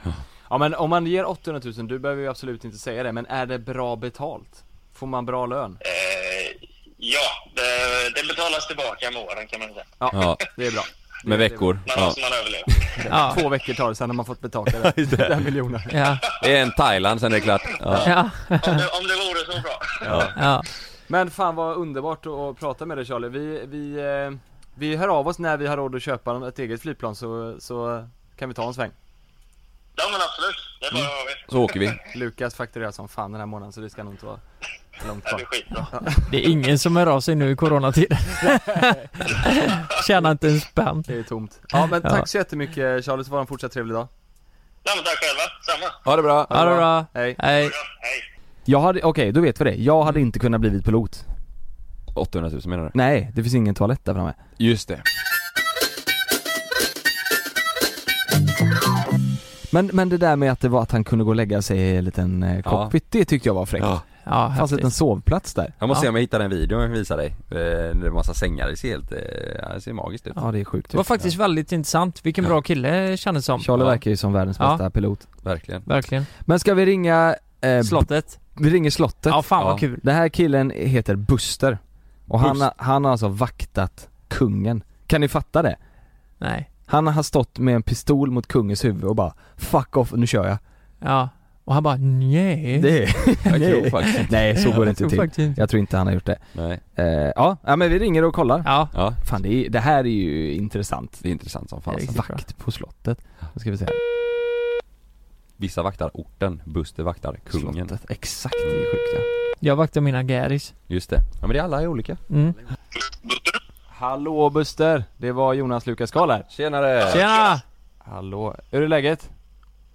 Speaker 6: 000.
Speaker 3: Ja men om man ger 800 000, du behöver ju absolut inte säga det, men är det bra betalt? Får man bra lön?
Speaker 6: Eh, ja, det, det betalas tillbaka med åren kan man säga.
Speaker 3: Ja,
Speaker 4: Ja.
Speaker 3: det är bra Det-
Speaker 4: Med
Speaker 3: det är
Speaker 4: veckor.
Speaker 6: Man
Speaker 4: Ja.
Speaker 6: måste man överleva.
Speaker 2: Ja.
Speaker 3: bra. Två veckor tar det, sen har man fått betalt det där, den miljonen
Speaker 2: Ja.
Speaker 4: Det är en Thailand sen är det klart. Ja.
Speaker 2: Ja.
Speaker 6: Om det, om det vore så bra.
Speaker 2: ja.
Speaker 3: Men fan vad underbart att, att prata med dig Charlie, vi, vi, eh, vi hör av oss när vi har råd att köpa ett eget flygplan så, så kan vi ta en sväng
Speaker 6: Ja men absolut. Det är bara att höra av er.
Speaker 4: Så åker vi.
Speaker 3: Lukas fakturerar som fan den här månaden så det ska nog inte vara långt
Speaker 6: Det blir
Speaker 3: kvar
Speaker 6: skitbra.
Speaker 2: Det är ingen som hör av sig nu i coronatiden. Tjänar inte en spänn.
Speaker 3: Det är tomt Ja men tack så jättemycket Charlie, så var det en fortsatt trevlig dag
Speaker 6: Ja, men tack själva. Samma.
Speaker 3: Ha det bra!
Speaker 2: Ha det bra.
Speaker 3: Hej!
Speaker 2: Hej.
Speaker 6: Bra, Hej.
Speaker 8: Jag hade, okej då vet vi det. Jag hade inte kunnat blivit pilot.
Speaker 4: 800 000 menar du?
Speaker 8: Nej, det finns ingen toalett där framme.
Speaker 4: Just det.
Speaker 8: Men, men det där med att det var att han kunde gå och lägga sig i en liten eh,
Speaker 4: Ja.
Speaker 8: cockpit, det tyckte jag var fräckt.
Speaker 4: Ja.
Speaker 2: Ja,
Speaker 8: Det fanns en
Speaker 2: häftigt.
Speaker 8: liten sovplats där.
Speaker 4: Jag måste
Speaker 2: Ja.
Speaker 4: se om jag hittar en video jag visar dig. Eh, Det är en massa sängar, det ser helt, eh, ja, det ser magiskt ut.
Speaker 8: Ja det är sjukt.
Speaker 2: Det var faktiskt väldigt intressant. Vilken bra kille kändes som.
Speaker 8: Charlie
Speaker 2: Ja,
Speaker 8: verkar ju som världens
Speaker 2: Ja.
Speaker 8: bästa pilot.
Speaker 4: Verkligen.
Speaker 2: Verkligen.
Speaker 8: Men ska vi ringa... Eh,
Speaker 2: Slottet.
Speaker 8: vi ringer slottet.
Speaker 2: Ja, fan
Speaker 4: Ja.
Speaker 2: vad kul.
Speaker 8: Den här killen heter Buster. Och han,
Speaker 2: Bust.
Speaker 8: har- han har alltså vaktat kungen. Kan ni fatta det?
Speaker 2: Nej.
Speaker 8: Han har stått med en pistol mot kungens huvud och bara 'Fuck off, nu kör jag'
Speaker 2: Mm. Ja. Och han bara nej.
Speaker 8: Det är...
Speaker 4: Jag tror
Speaker 8: Nej.
Speaker 4: faktiskt inte.
Speaker 8: Nej så går det inte
Speaker 2: Jag tror
Speaker 8: till.
Speaker 2: faktiskt inte.
Speaker 8: Jag tror inte han har gjort det.
Speaker 4: Nej.
Speaker 8: Eh, ja, ja, men vi ringer och kollar.
Speaker 2: Ja.
Speaker 4: Ja,
Speaker 8: Fan det, är, det här är ju intressant.
Speaker 4: det är intressant som fan.
Speaker 2: Det är riktigt bra.
Speaker 8: Vakt på slottet. Då ska vi se här.
Speaker 4: Vissa vaktar orten, Buster vaktar kungen.
Speaker 8: Slottet. Exakt, det är sjukt ja.
Speaker 2: Jag vaktar mina gäris.
Speaker 4: Just det. Ja men det är alla är olika.
Speaker 2: Mm.
Speaker 6: Butter?
Speaker 3: Hallå Buster! Det var Jonas Lukas Karl här.
Speaker 4: Tjenare!
Speaker 2: Tjena!
Speaker 3: Hallå, hur är läget?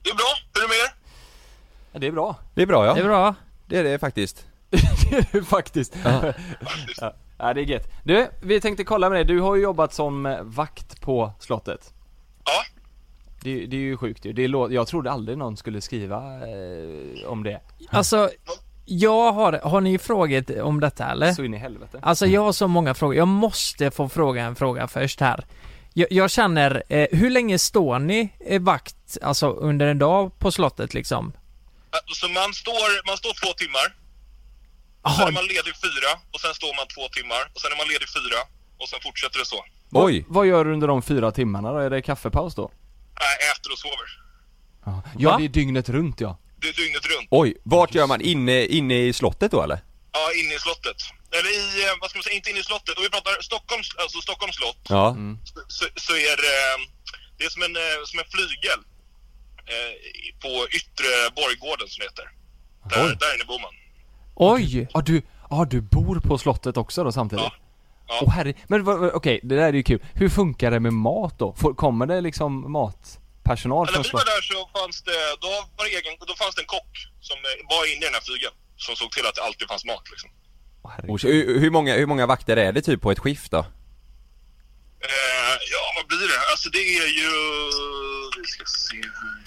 Speaker 6: Det är bra. Hur är det med er?
Speaker 3: Ja, det är bra.
Speaker 4: Det är bra ja.
Speaker 2: Det är bra.
Speaker 4: Det är det faktiskt.
Speaker 3: Faktiskt. Ja. ja, det är gött. Du, vi tänkte kolla med dig. Du har ju jobbat som eh, vakt på slottet.
Speaker 6: Ja.
Speaker 3: Det, det är ju sjukt ju. Det lå- jag trodde aldrig någon skulle skriva eh, om det.
Speaker 2: Alltså, jag har, har ni frågat om detta eller?
Speaker 3: Så in i helvete.
Speaker 2: Alltså jag har så många frågor. Jag måste få fråga en fråga först här. Jag, jag känner, eh, hur länge står ni eh, vakt, alltså under en dag på slottet liksom?
Speaker 6: Så Alltså, man står, man står två timmar, sen
Speaker 2: Jaha,
Speaker 6: är man ledig fyra och sen står man två timmar och sen är man ledig fyra och sen fortsätter det så.
Speaker 4: Oj!
Speaker 3: Vad gör du under de fyra timmarna då? Är det kaffepaus då?
Speaker 6: Äh, äter och sover.
Speaker 3: Ja,
Speaker 2: Va?
Speaker 3: det är dygnet runt ja.
Speaker 6: Det är dygnet runt.
Speaker 4: Oj! Vart gör man? Inne, inne i slottet då eller?
Speaker 6: Ja, inne i slottet. Eller i, eh, vad ska man säga, inte inne i slottet. Om vi pratar Stockholms, alltså Stockholms slott
Speaker 4: Ja.
Speaker 6: så, så är det, eh, det är som en, eh, som en flygel eh, i- på yttre borggården som det heter. Där, där inne bor man.
Speaker 2: oj!
Speaker 3: Ja du, ja du bor på slottet också då samtidigt?
Speaker 6: Ja. Ja.
Speaker 3: Åh herre, men vad- vad- okej det där är ju kul. Hur funkar det med mat då? Får, kommer det liksom matpersonal
Speaker 6: När
Speaker 3: från
Speaker 6: vi var
Speaker 3: slottet?
Speaker 6: där så fanns det, då var det egen, då fanns det en kock som eh, var inne i den här flygeln. Som såg till att det alltid fanns mat liksom.
Speaker 4: Och så- Hur, hur, många, hur många vakter är det typ på ett skift då?
Speaker 6: Eh, ja, vad blir det? Alltså det är ju... Vi ska se här.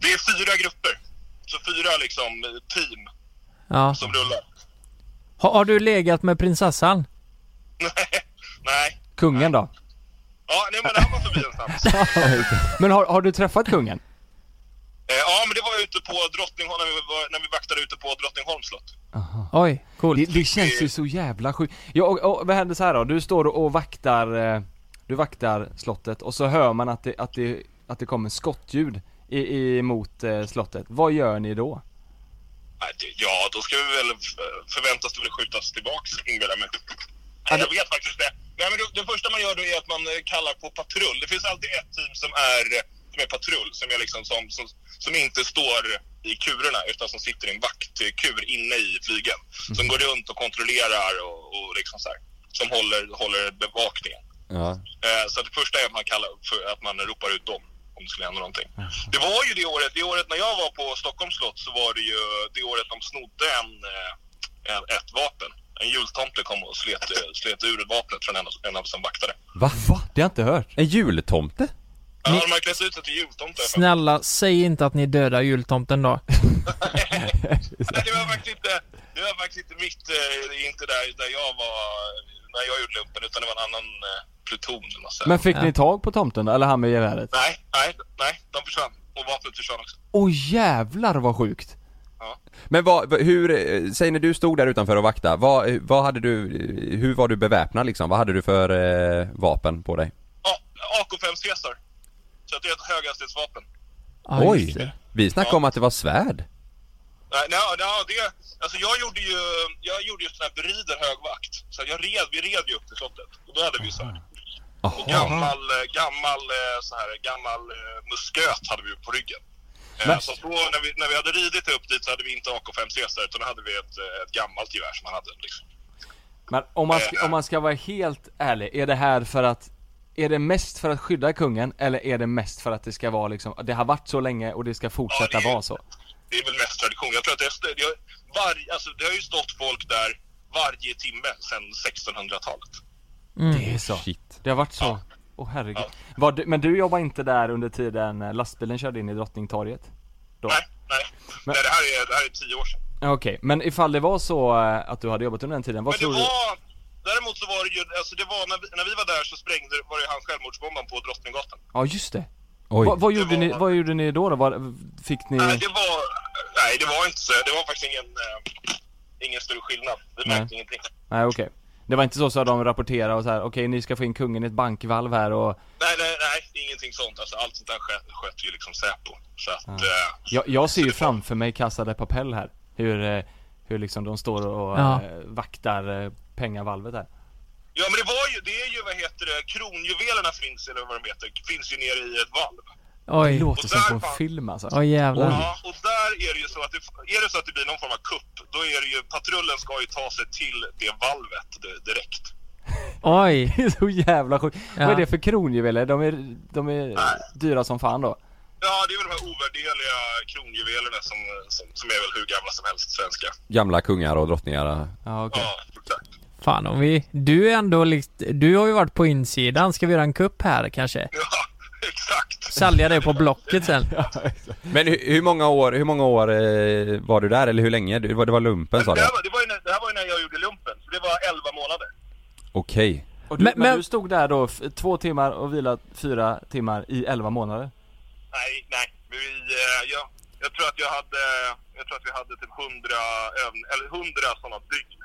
Speaker 6: Det är fyra grupper. Så fyra liksom eh, team
Speaker 2: Ja.
Speaker 6: som rullar.
Speaker 2: Har, har du legat med prinsessan?
Speaker 6: Nej.
Speaker 3: Kungen då?
Speaker 6: Ja, nej men det här var förbi en snabbis.
Speaker 3: Men har, har du träffat kungen?
Speaker 6: Eh, ja, men det var ju ute på Drottningholm, när vi, var, när vi vaktade ute på Drottningholms slott.
Speaker 2: Oj,
Speaker 3: Det,
Speaker 2: coolt.
Speaker 3: det känns ju så jävla sjukt. Ja, och, och, vad händer så här då? Du står och vaktar, eh, du vaktar slottet och så hör man att det, att det, att det kommer skottljud i, i, mot eh, slottet. Vad gör ni då?
Speaker 6: Nej, det- Ja, då ska vi väl eh, förväntas det väl skjutas tillbaks, inbillar jag mig. Nej, Jag vet faktiskt det. Nej, men det, det första man gör då är att man eh, kallar på patrull. Det finns alltid ett team som är, eh, som är patrull, som, är liksom som, som, som inte står i kurerna utan som sitter i en vaktkur inne i flygen. Som går runt och kontrollerar och, och liksom så här, som håller, håller bevakningen.
Speaker 4: Ja.
Speaker 6: Eh, Så att det första är att man, kallar för, att man ropar ut dem om det skulle hända någonting. Det var ju det året, det året när jag var på Stockholms slott så var det ju det året de snodde en, eh, en, ett vapen. En jultomte kom och slet, eh, slet ur vapnet från en, av- en av som vaktade.
Speaker 3: Va? Va? Det har jag inte hört.
Speaker 4: En jultomte?
Speaker 6: Ja, de har klätt ut sig till jultomte.
Speaker 2: Snälla, säg inte att ni dödar jultomten då.
Speaker 6: Nej, det var faktiskt inte, det var faktiskt inte mitt, eh, inte där, där jag var, när jag gjorde lumpen utan det var en annan eh, pluton. eller vad man säger.
Speaker 3: Men fick
Speaker 2: Ja.
Speaker 3: ni tag på tomten då? Eller han med geväret?
Speaker 6: Nej, nej, nej, de försvann. Och vapnet försvann också.
Speaker 3: Åh jävlar vad sjukt!
Speaker 4: Men vad, vad- hur, eh, säg när du stod där utanför och vaktade, vad, eh, vad hade du, eh, hur var du beväpnad liksom? Vad hade du för eh, vapen på dig?
Speaker 6: Ja, AK5 Caesar. Så att det är ett höghastighetsvapen.
Speaker 2: Ja, just det.
Speaker 4: Oj! Vi snackade om att det var svärd.
Speaker 6: Nej, nej, nej det, alltså jag gjorde ju, jag gjorde ju sån här berider högvakt. Så jag red, vi red ju upp till slottet. Och då hade vi ju svärd. Och gammal, eh, gammal, eh, så här, gammal eh, musköt hade vi ju på ryggen. Eh, Så att då, när, vi, när vi hade ridit upp dit så hade vi inte AK5 Caesar utan då hade vi ett, eh, ett gammalt gevär som man hade. Liksom.
Speaker 3: Men om man, ska, om man ska vara helt ärlig, är det här för att Är det mest för att skydda kungen eller är det mest för att det ska vara liksom, det har varit så länge och det ska fortsätta
Speaker 6: Ja, det är-
Speaker 3: vara så?
Speaker 6: Det är väl mest tradition. Jag tror att det, är- det, har- varje- alltså, det har ju stått folk där varje timme sedan 1600-talet.
Speaker 3: Det är så.
Speaker 9: Shit.
Speaker 3: Det har varit så. Åh herregud. Var du, men du jobbar inte där under tiden eh, lastbilen körde in i Drottningtorget? Då?
Speaker 6: Nej, nej.
Speaker 3: Men-
Speaker 6: nej det, här är, det här är tio år sedan.
Speaker 3: Ja, Okej, men ifall det var så eh, att du hade jobbat under den tiden, vad
Speaker 6: Men det
Speaker 3: tror du?
Speaker 6: var... Däremot så var det ju, alltså det var när vi, när vi var där så sprängde, var det ju han självmordsbombaren på Drottninggatan.
Speaker 3: Ja just det.
Speaker 9: Oj.
Speaker 3: Vad, vad, gjorde
Speaker 6: var-
Speaker 3: ni, vad gjorde ni då? då? Vad, fick ni?
Speaker 6: Nej, det var, nej det var inte så, det var faktiskt ingen, eh, ingen stor skillnad. Vi
Speaker 3: Nej.
Speaker 6: märkte ingenting.
Speaker 3: Nej okej. Det var inte så så att de rapporterade och så här, okej ni ska få in kungen i ett bankvalv här och
Speaker 6: Nej, nej, nej, ingenting sånt. Alltså allt sånt där sköt, sköt ju liksom Säpo. Så att, eh,
Speaker 3: jag, jag ser ju framför mig Casa de Papel här. Hur, eh, hur liksom de står och
Speaker 2: Ja.
Speaker 3: eh, vaktar eh, pengavalvet här.
Speaker 6: ja men det var ju, det är ju vad heter det, kronjuvelerna finns eller vad de heter, finns ju nere i ett valv.
Speaker 3: Det
Speaker 2: Oj,
Speaker 3: låter
Speaker 6: Och
Speaker 3: som
Speaker 6: där
Speaker 3: på en
Speaker 6: fan-
Speaker 3: film alltså.
Speaker 2: oj jävlar.
Speaker 6: Ja, och där är det ju så att det, är det så att det blir någon form av kupp, då är det ju, patrullen ska ju ta sig till det valvet di- direkt.
Speaker 2: Oj!
Speaker 3: Det är så jävla sjukt. Vad
Speaker 2: Ja.
Speaker 3: är det för kronjuveler? De är, de är dyra som fan då.
Speaker 6: Ja, det är väl de här ovärdeliga kronjuvelerna som, som, som är väl hur gamla som helst svenska.
Speaker 4: Gamla kungar och drottningar. eh.
Speaker 3: Ja okej.
Speaker 6: Ja, exakt.
Speaker 2: Fan om vi... Du är ändå likt... Du har ju varit på insidan. Ska vi göra en kupp här kanske?
Speaker 6: Ja, exakt.
Speaker 2: Sälja det på Blocket sen.
Speaker 4: Men hur, hur många år, hur många år eh, var du där eller hur länge? Det var, det var lumpen sa
Speaker 6: det,
Speaker 4: du?
Speaker 6: här var, det, var ju när, det här var ju när jag gjorde lumpen, så det var 11 månader.
Speaker 4: Okej.
Speaker 3: Och du,
Speaker 2: Men-
Speaker 3: men,
Speaker 2: men-
Speaker 3: du stod där då f- två timmar och vilat fyra timmar i elva månader?
Speaker 6: Nej, nej. Vi, eh, jag, jag tror att jag hade, jag tror att vi hade typ 100 övn, eller 100 sådana dygn.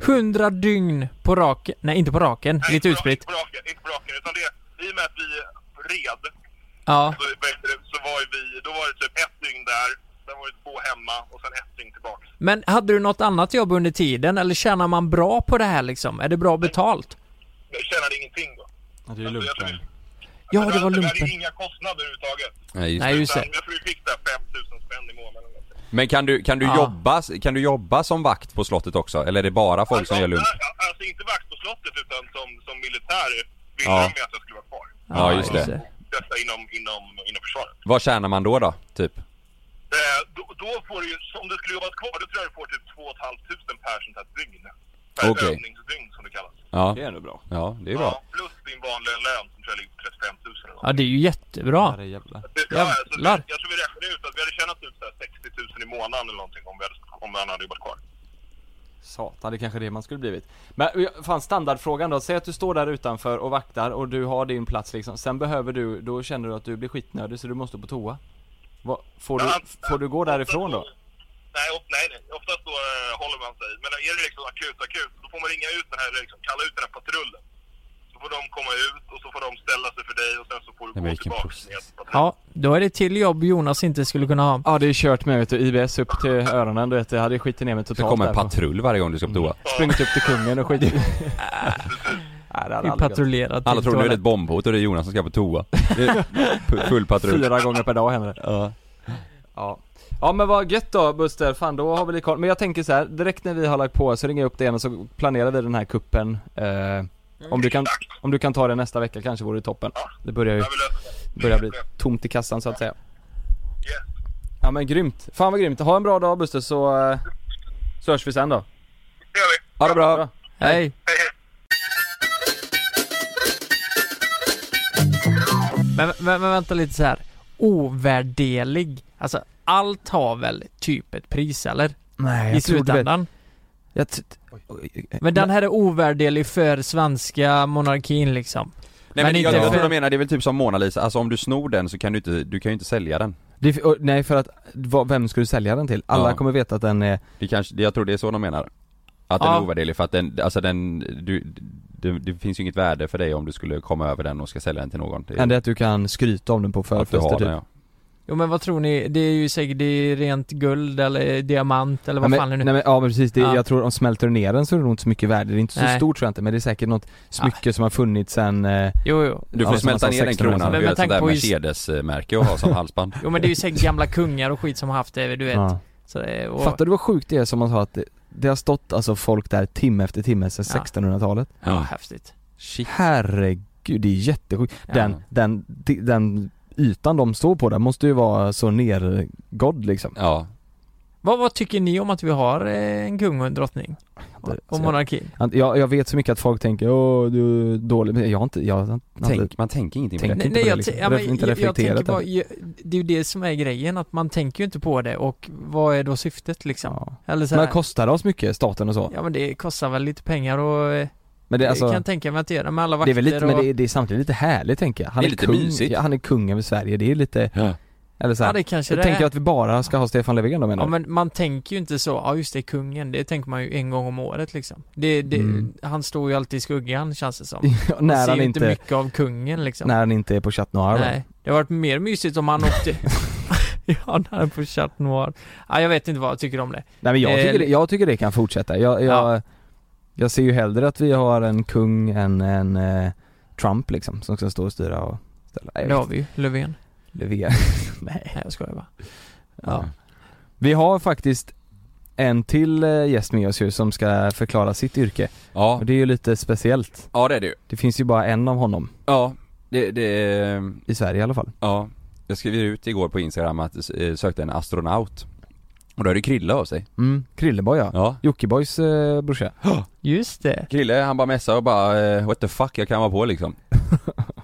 Speaker 2: 100 dygn på raken. Nej, inte på raken.
Speaker 6: Nej,
Speaker 2: Lite
Speaker 6: inte på rak-
Speaker 2: utspritt.
Speaker 6: Inte på raken, inte på raken, utan det, i och med att vi red,
Speaker 2: Ja.
Speaker 6: så, vad heter det, så var ju vi, då var det typ ett dygn där, sen var det två hemma och sen ett dygn tillbaks.
Speaker 2: Men hade du något annat jobb under tiden? Eller tjänar man bra på det här liksom? Är det bra betalt?
Speaker 6: Jag tjänade ingenting då.
Speaker 3: Ja, det är
Speaker 6: Alltså, jag tror-
Speaker 3: lumpen.
Speaker 2: Ja, det var
Speaker 6: alltså, vi hade
Speaker 2: lumpen.
Speaker 6: ju inga kostnader överhuvudtaget.
Speaker 4: Nej, just
Speaker 2: Nej,
Speaker 4: det.
Speaker 2: just
Speaker 6: Utan
Speaker 2: det.
Speaker 6: jag tror vi fick där 5000 spänn i månaden. eller någonting.
Speaker 4: Men kan du, kan, du
Speaker 2: Ja.
Speaker 4: jobba, kan du jobba som vakt på slottet också? Eller är det bara folk som
Speaker 6: Alltså,
Speaker 4: gör lump?
Speaker 6: nej, Alltså inte vakt på slottet utan som, som militär ville
Speaker 4: Ja.
Speaker 6: de ju att jag skulle vara kvar.
Speaker 4: Ja, just det.
Speaker 6: Detta inom, inom, inom försvaret.
Speaker 4: Vad tjänar man då då, typ?
Speaker 6: Eh, då, då får du ju, om du skulle jobbat kvar, då tror jag du får typ 2 500 per sånt här dygn. Per
Speaker 4: Okej.
Speaker 6: övningsdygn som det kallas.
Speaker 4: Ja,
Speaker 3: är ändå bra.
Speaker 4: ja det är
Speaker 6: Ja,
Speaker 4: bra.
Speaker 6: plus din vanliga lön som tror jag ligger på 35 000 eller något.
Speaker 2: Ja, det är ju
Speaker 3: Ja.
Speaker 2: jättebra.
Speaker 3: det är jävla-
Speaker 6: Det- ja, alltså,
Speaker 2: jävlar.
Speaker 6: vi- jag tror vi räknade ut att vi hade tjänat ut så här 60 000 i månaden eller någonting om, vi hade, om han hade jobbat kvar.
Speaker 3: Satan, det är kanske är det man skulle blivit. Men eh, fan standardfrågan då, säg att du står där utanför och vaktar och du har din plats liksom. Sen behöver du, då känner du att du blir skitnödig så du måste på toa. Vad- får, du, får du gå därifrån då?
Speaker 6: Nej, op- nej, nej. Oftast då eh, håller man sig. Men är det liksom akut, akut, då får man ringa ut den här, liksom, kalla ut den här patrullen. Så får de komma ut och så får de ställa sig för dig och sen så får du
Speaker 4: Nej, men
Speaker 6: gå
Speaker 4: vilken
Speaker 6: tillbaka
Speaker 4: process.
Speaker 6: ner till patrullen.
Speaker 2: Ja, då är det till jobb Jonas inte skulle kunna ha.
Speaker 3: Ja det är kört med vet du, IBS upp till öronen du vet, det hade skitit ner mig
Speaker 4: Det
Speaker 3: totalt
Speaker 4: kommer en
Speaker 3: därifrån.
Speaker 4: patrull varje gång du ska på toa.
Speaker 3: Sprungit upp till kungen och skitit Nej det hade
Speaker 2: Vi
Speaker 3: aldrig gått.
Speaker 2: patrullerar till
Speaker 4: Alla tror nu är det
Speaker 2: toaletten.
Speaker 4: ett bombhot och det är Jonas som ska på toa. Det är pu- Full patrull.
Speaker 3: Fyra gånger per dag händer det. Ja. ja. Ja men vad gött då Buster, fan då har vi lite koll. Men jag tänker så här, direkt när vi har lagt på så ringer jag upp dig igen och så planerar vi den här kuppen. Eh, om, du kan, om du kan ta det nästa vecka kanske vore det toppen. Det börjar ju
Speaker 6: Jag vill lösa det.
Speaker 3: börjar bli tomt i kassan så att säga.
Speaker 6: Yes.
Speaker 3: Ja men grymt, fan vad grymt. Ha en bra dag Buster så, eh, så hörs vi sen då.
Speaker 6: Det gör vi.
Speaker 4: Ha det bra!
Speaker 2: Hej!
Speaker 6: Hej, hej.
Speaker 2: Men, men, men vänta lite så här. Ovärdelig. Alltså, allt har väl typ ett pris eller?
Speaker 10: Nej
Speaker 2: I slutändan.
Speaker 10: Jag t-
Speaker 2: Men den här är ovärdelig för svenska monarkin liksom.
Speaker 4: Nej
Speaker 2: Men
Speaker 4: men,
Speaker 2: inte
Speaker 4: jag, jag tror
Speaker 2: för-
Speaker 4: de menar, det är väl typ som Mona Lisa, alltså om du snor den så kan du inte, du kan ju inte sälja den.
Speaker 10: det, och, nej för att, vad, vem ska du sälja den till? Alla
Speaker 4: Ja.
Speaker 10: kommer veta att den är,
Speaker 4: Det kanske, det- jag tror det är så de menar. Att den
Speaker 2: Ja.
Speaker 4: är ovärdelig för att den, alltså den, du, det, det finns ju inget värde för dig om du skulle komma över den och ska sälja den till någon. Det är-
Speaker 10: än det att du kan skryta om den på
Speaker 4: att du har
Speaker 10: förfester typ.
Speaker 4: den, ja.
Speaker 2: Jo men vad tror ni? Det är ju säkert det är rent guld eller diamant eller
Speaker 10: Ja,
Speaker 2: vad
Speaker 10: men,
Speaker 2: fan det nu
Speaker 10: nej, men, ja men precis, det,
Speaker 2: Ja.
Speaker 10: jag tror om smälter du ner den så är det nog inte så mycket värde, det är inte så
Speaker 2: Nej.
Speaker 10: stort tror jag inte men det är säkert något smycke som har funnits sen eh,
Speaker 2: Jo jo.
Speaker 4: Du får
Speaker 10: Ja,
Speaker 4: smälta
Speaker 10: som
Speaker 4: ner den
Speaker 10: 16 år.
Speaker 4: kronan
Speaker 2: Men
Speaker 4: och
Speaker 2: med
Speaker 4: göra ett sånt
Speaker 2: tanke
Speaker 4: där
Speaker 2: på just-
Speaker 4: Mercedes-märke och ha som halsband.
Speaker 2: Jo men det är ju säkert gamla kungar och skit som har haft det, du vet.
Speaker 10: ja.
Speaker 2: Så det, och,
Speaker 10: Fattar du vad sjukt det är som man sa att det, det har stått alltså folk där timme efter timme sedan
Speaker 2: Ja.
Speaker 10: 1600-talet?
Speaker 2: Ja, häftigt.
Speaker 4: Shit.
Speaker 3: Herregud, det är jättesjukt.
Speaker 11: Ja.
Speaker 3: Den, den, di- den ytan de står på där måste ju vara så nergådd liksom.
Speaker 4: Ja.
Speaker 2: Vad, vad tycker ni om att vi har eh, en kung och en drottning?
Speaker 3: Det-
Speaker 2: Och
Speaker 3: så
Speaker 2: monarkin?
Speaker 10: Alltså,
Speaker 3: jag, jag, jag vet så mycket att folk tänker åh du är dålig, men jag har inte, jag har inte
Speaker 10: alltså,
Speaker 4: Tänk, man tänker ingenting på
Speaker 3: Tänk.
Speaker 4: det.
Speaker 3: inte på det,
Speaker 2: jag,
Speaker 3: liksom.
Speaker 2: t- ja, men
Speaker 3: Ref- inte
Speaker 2: jag, jag
Speaker 3: reflekterat
Speaker 2: tänker bara, ju- det är ju det som är grejen, att man tänker ju inte på det och vad är då syftet liksom?
Speaker 3: ja.
Speaker 2: Eller så
Speaker 3: Men
Speaker 2: här,
Speaker 3: kostar det oss mycket, staten och så?
Speaker 2: Ja men det kostar väl lite pengar och eh,
Speaker 3: Men det, är
Speaker 2: kan
Speaker 3: alltså,
Speaker 2: jag tänka mig att det gör det med alla
Speaker 3: det
Speaker 2: vakter
Speaker 3: är väl lite, men
Speaker 2: och...
Speaker 3: det är, det är samtidigt lite härligt tänker jag. Han
Speaker 4: Det
Speaker 3: är,
Speaker 4: är lite
Speaker 3: kung,
Speaker 4: mysigt.
Speaker 3: ja, han är kung över Sverige, det är lite,
Speaker 4: Ja.
Speaker 3: eller så
Speaker 2: Ja
Speaker 3: här,
Speaker 2: det kanske
Speaker 3: Jag
Speaker 2: det
Speaker 3: tänker
Speaker 2: är.
Speaker 3: att vi bara ska ha Stefan Löfven då menar
Speaker 2: Ja
Speaker 3: du?
Speaker 2: men man tänker ju inte så, ja just det, kungen, det tänker man ju en gång om året liksom. Det, det,
Speaker 3: Mm.
Speaker 2: Han står ju alltid i skuggan känns det som.
Speaker 3: Ja,
Speaker 2: Man
Speaker 3: när
Speaker 2: ser
Speaker 3: han
Speaker 2: ju
Speaker 3: inte,
Speaker 2: mycket av kungen liksom.
Speaker 3: när han inte är på Chat Noir då.
Speaker 2: Nej, det har varit mer mysigt om han åkte Ja, när han på Chat Noir ja, jag vet inte vad jag tycker om det
Speaker 3: Nej men jag
Speaker 2: Eh,
Speaker 3: tycker, det, jag tycker det kan fortsätta. Jag, jag, jag ser ju hellre att vi har en kung än en eh, Trump liksom, som ska stå och styra och ställa. Nej,
Speaker 2: Det har vi ju, Löfven
Speaker 3: Löfven.
Speaker 2: Nej, jag skojar bara
Speaker 3: Ja. Vi har faktiskt en till eh, gäst med oss ju som ska förklara sitt yrke.
Speaker 4: Ja.
Speaker 3: Och det är ju lite speciellt.
Speaker 4: ja, det är det ju.
Speaker 3: Det finns ju bara en av honom,
Speaker 4: Ja, det, det,
Speaker 3: i Sverige i alla fall.
Speaker 4: ja. Jag skrev ut igår på Instagram att jag sökte en astronaut. Och då är det Krille av sig.
Speaker 3: Mm, Krilleboy ja.
Speaker 4: Ja.
Speaker 3: Jockibois eh, brorsa.
Speaker 2: Just det
Speaker 4: Krille han bara messade och bara eh, what the fuck jag kan vara på liksom.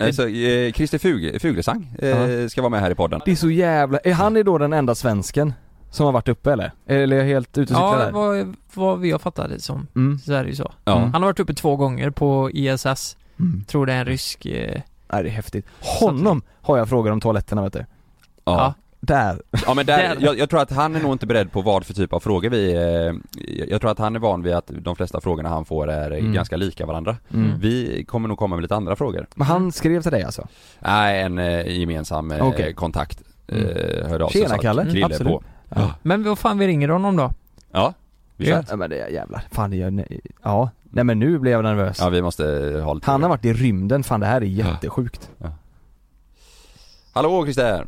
Speaker 4: Eh, Så eh, Christer Fug- Fuglesang eh,
Speaker 3: Ja.
Speaker 4: ska vara med här i podden.
Speaker 3: Det är så jävla, är han är då den enda svensken som har varit uppe eller? Eller är jag helt ute och cyklar
Speaker 2: Ja,
Speaker 3: där?
Speaker 2: vad, vad vi har fattat det som
Speaker 3: Mm.
Speaker 2: så är det ju så
Speaker 4: Ja.
Speaker 2: Han har varit uppe två gånger på ISS
Speaker 3: Mm.
Speaker 2: Tror det är en rysk eh,
Speaker 3: Nej det är häftigt. Honom har jag frågor om toaletterna vet du.
Speaker 4: Ja.
Speaker 2: Ja.
Speaker 3: Där.
Speaker 4: ja men där,
Speaker 2: Där.
Speaker 4: jag, jag tror att han är nog inte beredd på vad för typ av frågor vi, eh, jag tror att han är van vid att de flesta frågorna han får är eh,
Speaker 3: Mm.
Speaker 4: ganska lika varandra.
Speaker 3: Mm.
Speaker 4: Vi kommer nog komma med lite andra frågor.
Speaker 3: Men han skrev till dig alltså?
Speaker 4: Nej, en eh, gemensam eh,
Speaker 3: Okej.
Speaker 4: kontakt eh,
Speaker 3: Mm.
Speaker 4: hörde av sig
Speaker 3: Tjena,
Speaker 4: och sa att
Speaker 3: Kalle.
Speaker 4: Krille är
Speaker 3: Absolut.
Speaker 4: på.
Speaker 2: Men vad fan vi ringer honom då?
Speaker 4: Ja, vi kör.
Speaker 3: Ja men det är jävlar. Fan det gör, ja. Nej men nu blev jag nervös.
Speaker 4: Ja vi måste eh, ha lite
Speaker 3: Han har varit i rymden, fan det här är jättesjukt.
Speaker 4: Hallå Christer!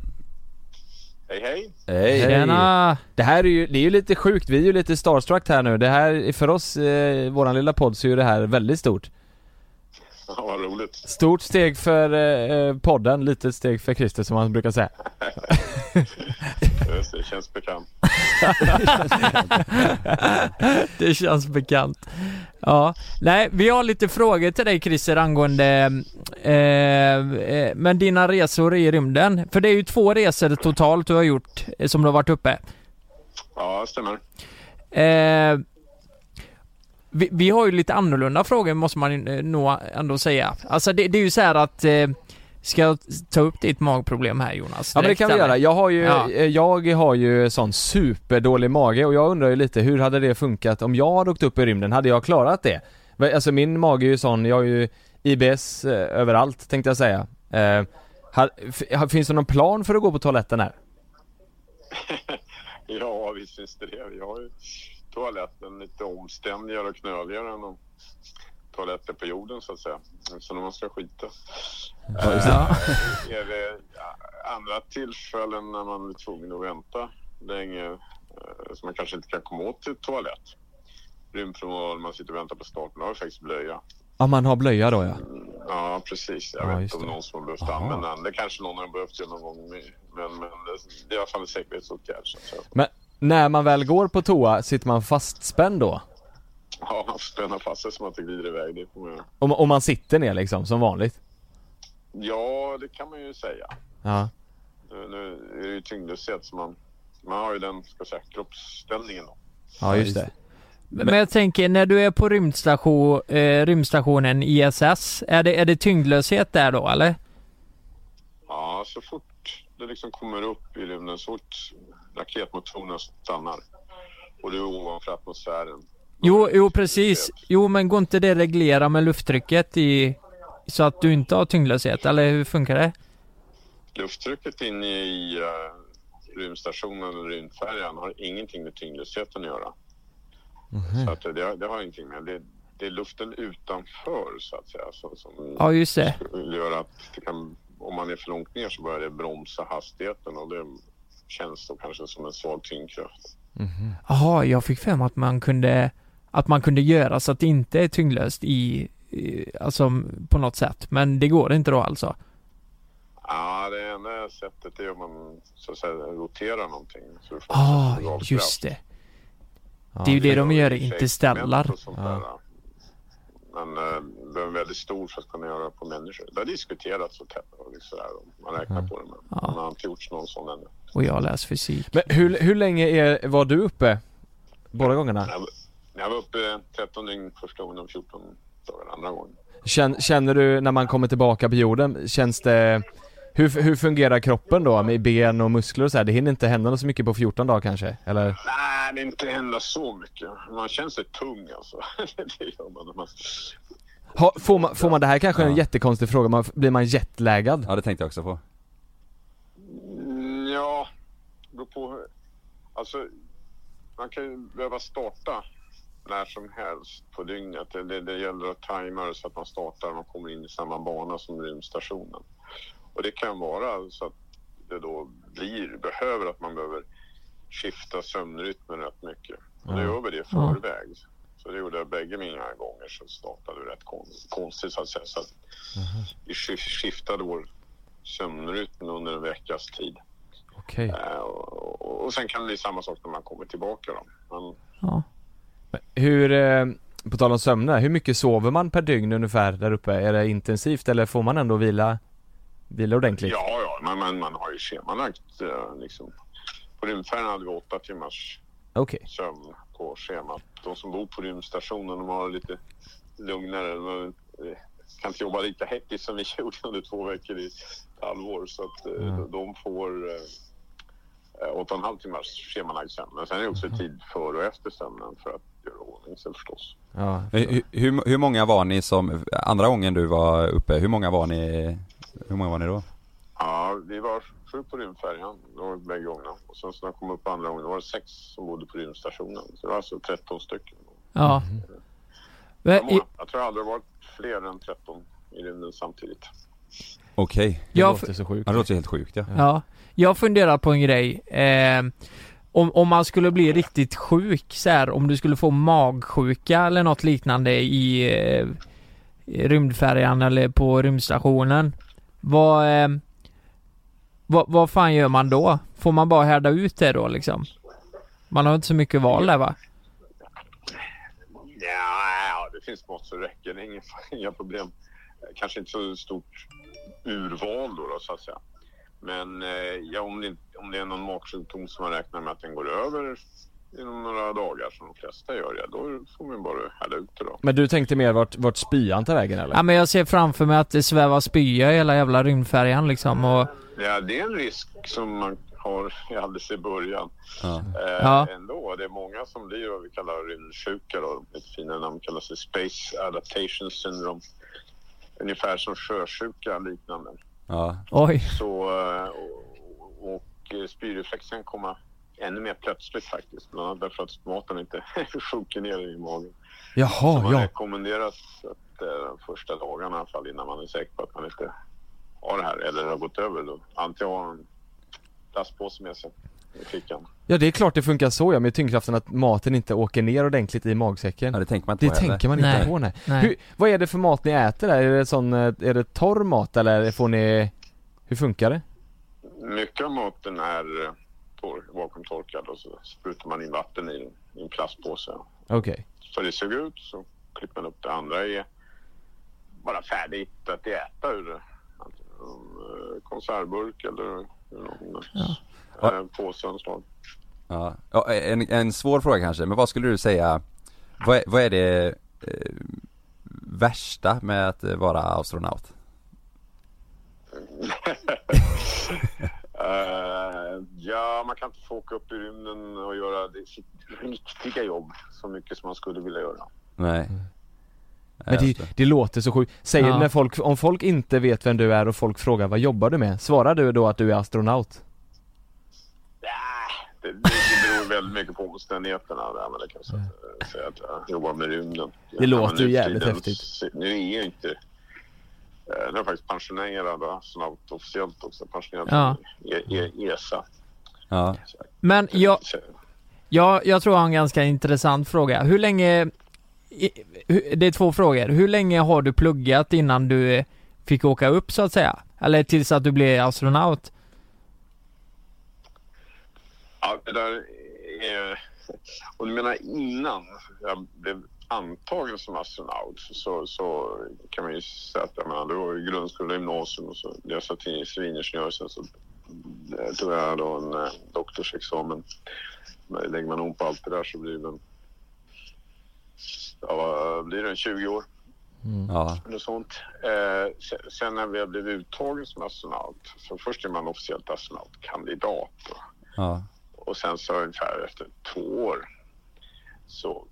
Speaker 6: Hej, hej.
Speaker 4: Hej!
Speaker 2: Tjena!
Speaker 3: Det här är ju, det är ju lite sjukt, vi är ju lite starstruck här nu. Det här, för oss, eh, våran lilla podd, så är ju det här väldigt stort.
Speaker 6: Ja, vad roligt.
Speaker 3: Stort steg för eh, podden, litet steg för Christer som man brukar säga.
Speaker 6: Just Det känns bekant.
Speaker 2: Det känns bekant. Ja, nej, vi har lite frågor till dig Christer angående eh, eh, men dina resor i rymden. För det är ju två resor totalt du har gjort eh, som du har varit uppe.
Speaker 6: Ja, stämmer.
Speaker 2: Eh, vi, vi har ju lite annorlunda frågor måste man eh, nog ändå säga. Alltså det, det är ju så här att eh, Ska jag ta upp ditt magproblem här Jonas?
Speaker 3: Ja men det kan vi
Speaker 2: Direkt,
Speaker 3: göra.
Speaker 2: eller?
Speaker 3: Jag har ju,
Speaker 2: Ja.
Speaker 3: eh, jag har ju sån superdålig mage och jag undrar ju lite hur hade det funkat om jag hade åkt upp i rymden? Hade jag klarat det? Men, Alltså min mage är ju sån, jag har ju IBS eh, överallt tänkte jag säga. Eh, har, f- har- finns det någon plan för att gå på toaletten här?
Speaker 6: Ja, visst finns det det. Vi har ju toaletten lite omständigare och knöligare än de toaletter på jorden så att säga. Så när man ska skita.
Speaker 2: Ja.
Speaker 6: Är det andra tillfällen när man är tvungen att vänta länge eh, som man kanske inte kan komma åt till toalett? Rymdpromenad, man sitter och väntar på starten. Då har vi faktiskt blöja.
Speaker 3: Ja man har blöja då ja.
Speaker 6: Ja, precis. Jag
Speaker 3: Ja,
Speaker 6: vet
Speaker 3: just
Speaker 6: inte om
Speaker 3: det.
Speaker 6: någon som har behövt
Speaker 3: Aha.
Speaker 6: använda den. Det kanske någon har behövt göra någon gång. med- Men, men det- det är i alla fall en säkerhetsåtgärd. Så att säga.
Speaker 3: Men när man väl går på toa, sitter man fastspänd då?
Speaker 6: Ja, man får spänna fast sig så man inte glider iväg. Det får man göra.
Speaker 3: Om, om man sitter ner liksom, som vanligt?
Speaker 6: Ja, det kan man ju säga.
Speaker 3: Ja.
Speaker 6: Nu, nu är det ju tyngdlöshet så man, man har ju den ska jag säga, kroppsställningen. Då.
Speaker 3: Ja just det.
Speaker 2: Men jag tänker, när du är på rymdstation, eh, rymdstationen ISS, är det, är det tyngdlöshet där då eller?
Speaker 6: Ja, så fort det liksom kommer upp i rymden, så fort raketmotorerna stannar och du är ovanför atmosfären.
Speaker 2: Jo, jo precis. Jo men går inte det reglera med lufttrycket i... Så att du inte har tyngdlöshet, eller hur funkar det?
Speaker 6: Lufttrycket inne i eh, rymdstationen eller rymdfärjan har ingenting med tyngdlösheten att göra.
Speaker 2: Mhm.
Speaker 6: Så att det, det har ingenting med. Det, det är luften utanför så att säga som, som
Speaker 2: Ja just det.
Speaker 6: skulle göra att det kan, om man är för långt ner så börjar det bromsa hastigheten och det känns då kanske som en svag tyngdkraft.
Speaker 2: Jaha, jag fick för mig att man kunde... Att man kunde göra så att det inte är tyngdlöst i i- alltså på något sätt. Men det går inte då alltså?
Speaker 6: Ja, det enda sättet är om man så att säga roterar någonting. Så du får
Speaker 2: Ah,
Speaker 6: en dragkraft.
Speaker 2: just det. Det är ju det de gör, inte ställar.
Speaker 6: Och sånt där. Men eh, den är väldigt stor för att kunna göra det på människor. Det har diskuterats och tätt- och liksom sådär. Man räknar
Speaker 2: Mm.
Speaker 6: på det men man har inte gjort någon sån ännu.
Speaker 2: Och jag läser fysik.
Speaker 3: Men hur, hur länge är, var du uppe? Båda gångerna?
Speaker 6: Jag, var- jag var uppe 13 dygn första gången och 14 dagar andra gången.
Speaker 3: Känn, känner du när man kommer tillbaka på jorden, känns det... Hur, hur fungerar kroppen då med ben och muskler och så här? Det hinner inte hända så mycket på 14 dagar kanske? Eller?
Speaker 6: Nej, det inte händer så mycket. Man känner sig tung alltså. det gör man när man...
Speaker 3: Ha, får, man, får man, det här kanske är en jättekonstig fråga, man, blir man jetlaggad?
Speaker 4: Ja det tänkte jag också på.
Speaker 6: Mm, Ja, beror på hur... Alltså, man kan ju behöva starta när som helst på dygnet. Det, det, det gäller att tajma det så att man startar och man kommer in i samma bana som rymdstationen. Och det kan vara så att det då blir, behöver att man behöver skifta sömnrytmen rätt mycket. Och då gör vi det i förväg. Så det gjorde jag bägge mina gånger så startade vi rätt kon- konstigt så att säga. Så att vi skif- skiftade vår sömnrytm under en veckas tid.
Speaker 3: Okej.
Speaker 6: Eh, Och, och, och sen kan det bli samma sak när man kommer tillbaka då. Men
Speaker 2: Ja.
Speaker 3: Hur, eh, på tal om sömne, hur mycket sover man per dygn ungefär där uppe? Är det intensivt eller får man ändå vila, vila ordentligt?
Speaker 6: ja, ja, men, men man har ju schemalagt eh, liksom. På rymdfärjan hade vi åtta timmars
Speaker 3: Okej.
Speaker 6: sömn på schemat. De som bor på rymdstationen de har det lite lugnare. De eh, kan inte jobba lika hektiskt som vi gjorde under två veckor i ett halvår. Så att eh, de- de får eh, eh, åtta och en halv timmars schemalagd sömn. Men sen är det också tid före och efter sömnen för att göra ordning sig förstås.
Speaker 3: Ja.
Speaker 4: Hur, Eh, hur, hur många var ni som, andra gången du var uppe, hur många var ni, hur många var ni då?
Speaker 6: Ja, vi var sju på rymdfärjan det var bägge gångerna. Och sen så när jag kom upp andra gången, då var det sex som bodde på rymdstationen. Så det var alltså 13 stycken.
Speaker 2: Ja.
Speaker 6: Det
Speaker 2: Men,
Speaker 6: var många. Jag tror aldrig det varit fler än 13 i rymden samtidigt.
Speaker 4: Okej,
Speaker 3: Det
Speaker 2: jag,
Speaker 3: låter så sjukt.
Speaker 4: ja, det låter helt sjukt ja.
Speaker 2: Ja, jag funderar på en grej. Eh, om, om man skulle bli riktigt sjuk så här, om du skulle få magsjuka eller något liknande i eh, i rymdfärjan eller på rymdstationen. Vad, eh, vad, vad fan gör man då? Får man bara härda ut det då liksom? Man har inte så mycket val där va?
Speaker 6: Ja, det finns mått som räcker. Det är inga, inga problem. Kanske inte så stort urval då, då så att säga. Men eh, ja, om, det, om det är någon magsjukdom som man räknar med att den går över inom några dagar som de flesta gör, ja, då får man bara hälla ut det då.
Speaker 3: Men du tänkte mer vart, vart spyan tar vägen eller?
Speaker 2: Ja men jag ser framför mig att det svävar spya i hela jävla rymdfärjan liksom och
Speaker 6: Ja, det är en risk som man har alldeles i början.
Speaker 4: Ja.
Speaker 6: Eh,
Speaker 2: Ja.
Speaker 6: Ändå, det är många som blir vad vi kallar rymdsjuka. Då. Ett finare namn kallas det Space Adaptation Syndrome. Ungefär som sjösjuka liknande.
Speaker 4: ja.
Speaker 2: oj.
Speaker 6: Så, eh, och, och eh, spyrreflex kan komma ännu mer plötsligt faktiskt. Bland annat därför att maten inte sjunker ner i magen. Så
Speaker 3: Jaha,
Speaker 6: man
Speaker 3: ja.
Speaker 6: rekommenderas att eh, första dagarna i alla fall innan man är säker på att man inte har det här eller har gått över. Då. Antingen har man en plastpåse med sig i fickan.
Speaker 3: Ja det är klart det funkar så ja, med tyngdkraften att maten inte åker ner ordentligt i magsäcken.
Speaker 4: ja det tänker man inte
Speaker 3: Det
Speaker 4: på heller.
Speaker 3: tänker man inte
Speaker 2: Nej.
Speaker 3: på nej.
Speaker 2: Nej.
Speaker 3: Hur, vad är det för mat ni äter där? Är det sån, eh, är det torr mat eller får ni, hur funkar det?
Speaker 6: Mycket av maten är eh, tor- vakuumtorkad och så sprutar man in vatten i, i en plastpåse.
Speaker 3: Okej.
Speaker 6: Så det såg ut så klipper man upp det andra är bara färdigt att äta ur det. Antingen en, eh, konservburk eller någon eh, påse av något slag.
Speaker 4: Ja. Ja, e-, en, en svår fråga kanske, men vad skulle du säga, vad är, vad är det eh, värsta med att eh, vara astronaut?
Speaker 6: Eh, ja, man kan inte få åka upp i rymden och göra det, sitt riktiga jobb så mycket som man skulle vilja göra.
Speaker 4: Nej.
Speaker 2: Mm.
Speaker 3: Men
Speaker 4: jag
Speaker 3: det,
Speaker 4: vet inte.
Speaker 3: det låter så sjukt. Säger
Speaker 2: Ja.
Speaker 3: när folk, om folk inte vet vem du är och folk frågar vad jobbar du med? Svarar du då att du är astronaut?
Speaker 6: Ja, Det, det beror väldigt mycket på omständigheterna. Där, men det kan jag säga- säga att jag jobbar med rymden.
Speaker 3: Det låter
Speaker 6: men nu
Speaker 3: ju jävligt
Speaker 6: tiden-
Speaker 3: häftigt.
Speaker 6: Nu är jag inte... eh, Nu är jag faktiskt pensionerad va, snabbt officiellt också. Pensionerad
Speaker 2: Ja.
Speaker 6: från E- E- ESA.
Speaker 4: Ja.
Speaker 2: Men jag,
Speaker 6: Så-
Speaker 2: Ja, jag tror jag har en ganska intressant fråga. Hur länge i- hu- det är två frågor. Hur länge har du pluggat innan du eh, fick åka upp så att säga? Eller tills att du blev astronaut?
Speaker 6: Ja, det där är... Och du menar innan jag blev antagen som astronaut så, så kan man ju säga att jag menar, det var ju grundskola och gymnasium och så läste jag till civilingenjör sen så eh, tog jag då en eh, doktorsexamen. Men Lägger man om på allt det där så blir den... Ja, vad blir den 20 år?
Speaker 2: Mm.
Speaker 4: Ja.
Speaker 6: eller sånt. Eh, se- sen när vi blev uttagen som astronaut, så först är man officiellt astronautkandidat. Då.
Speaker 4: Ja.
Speaker 6: Och sen så ungefär efter två år så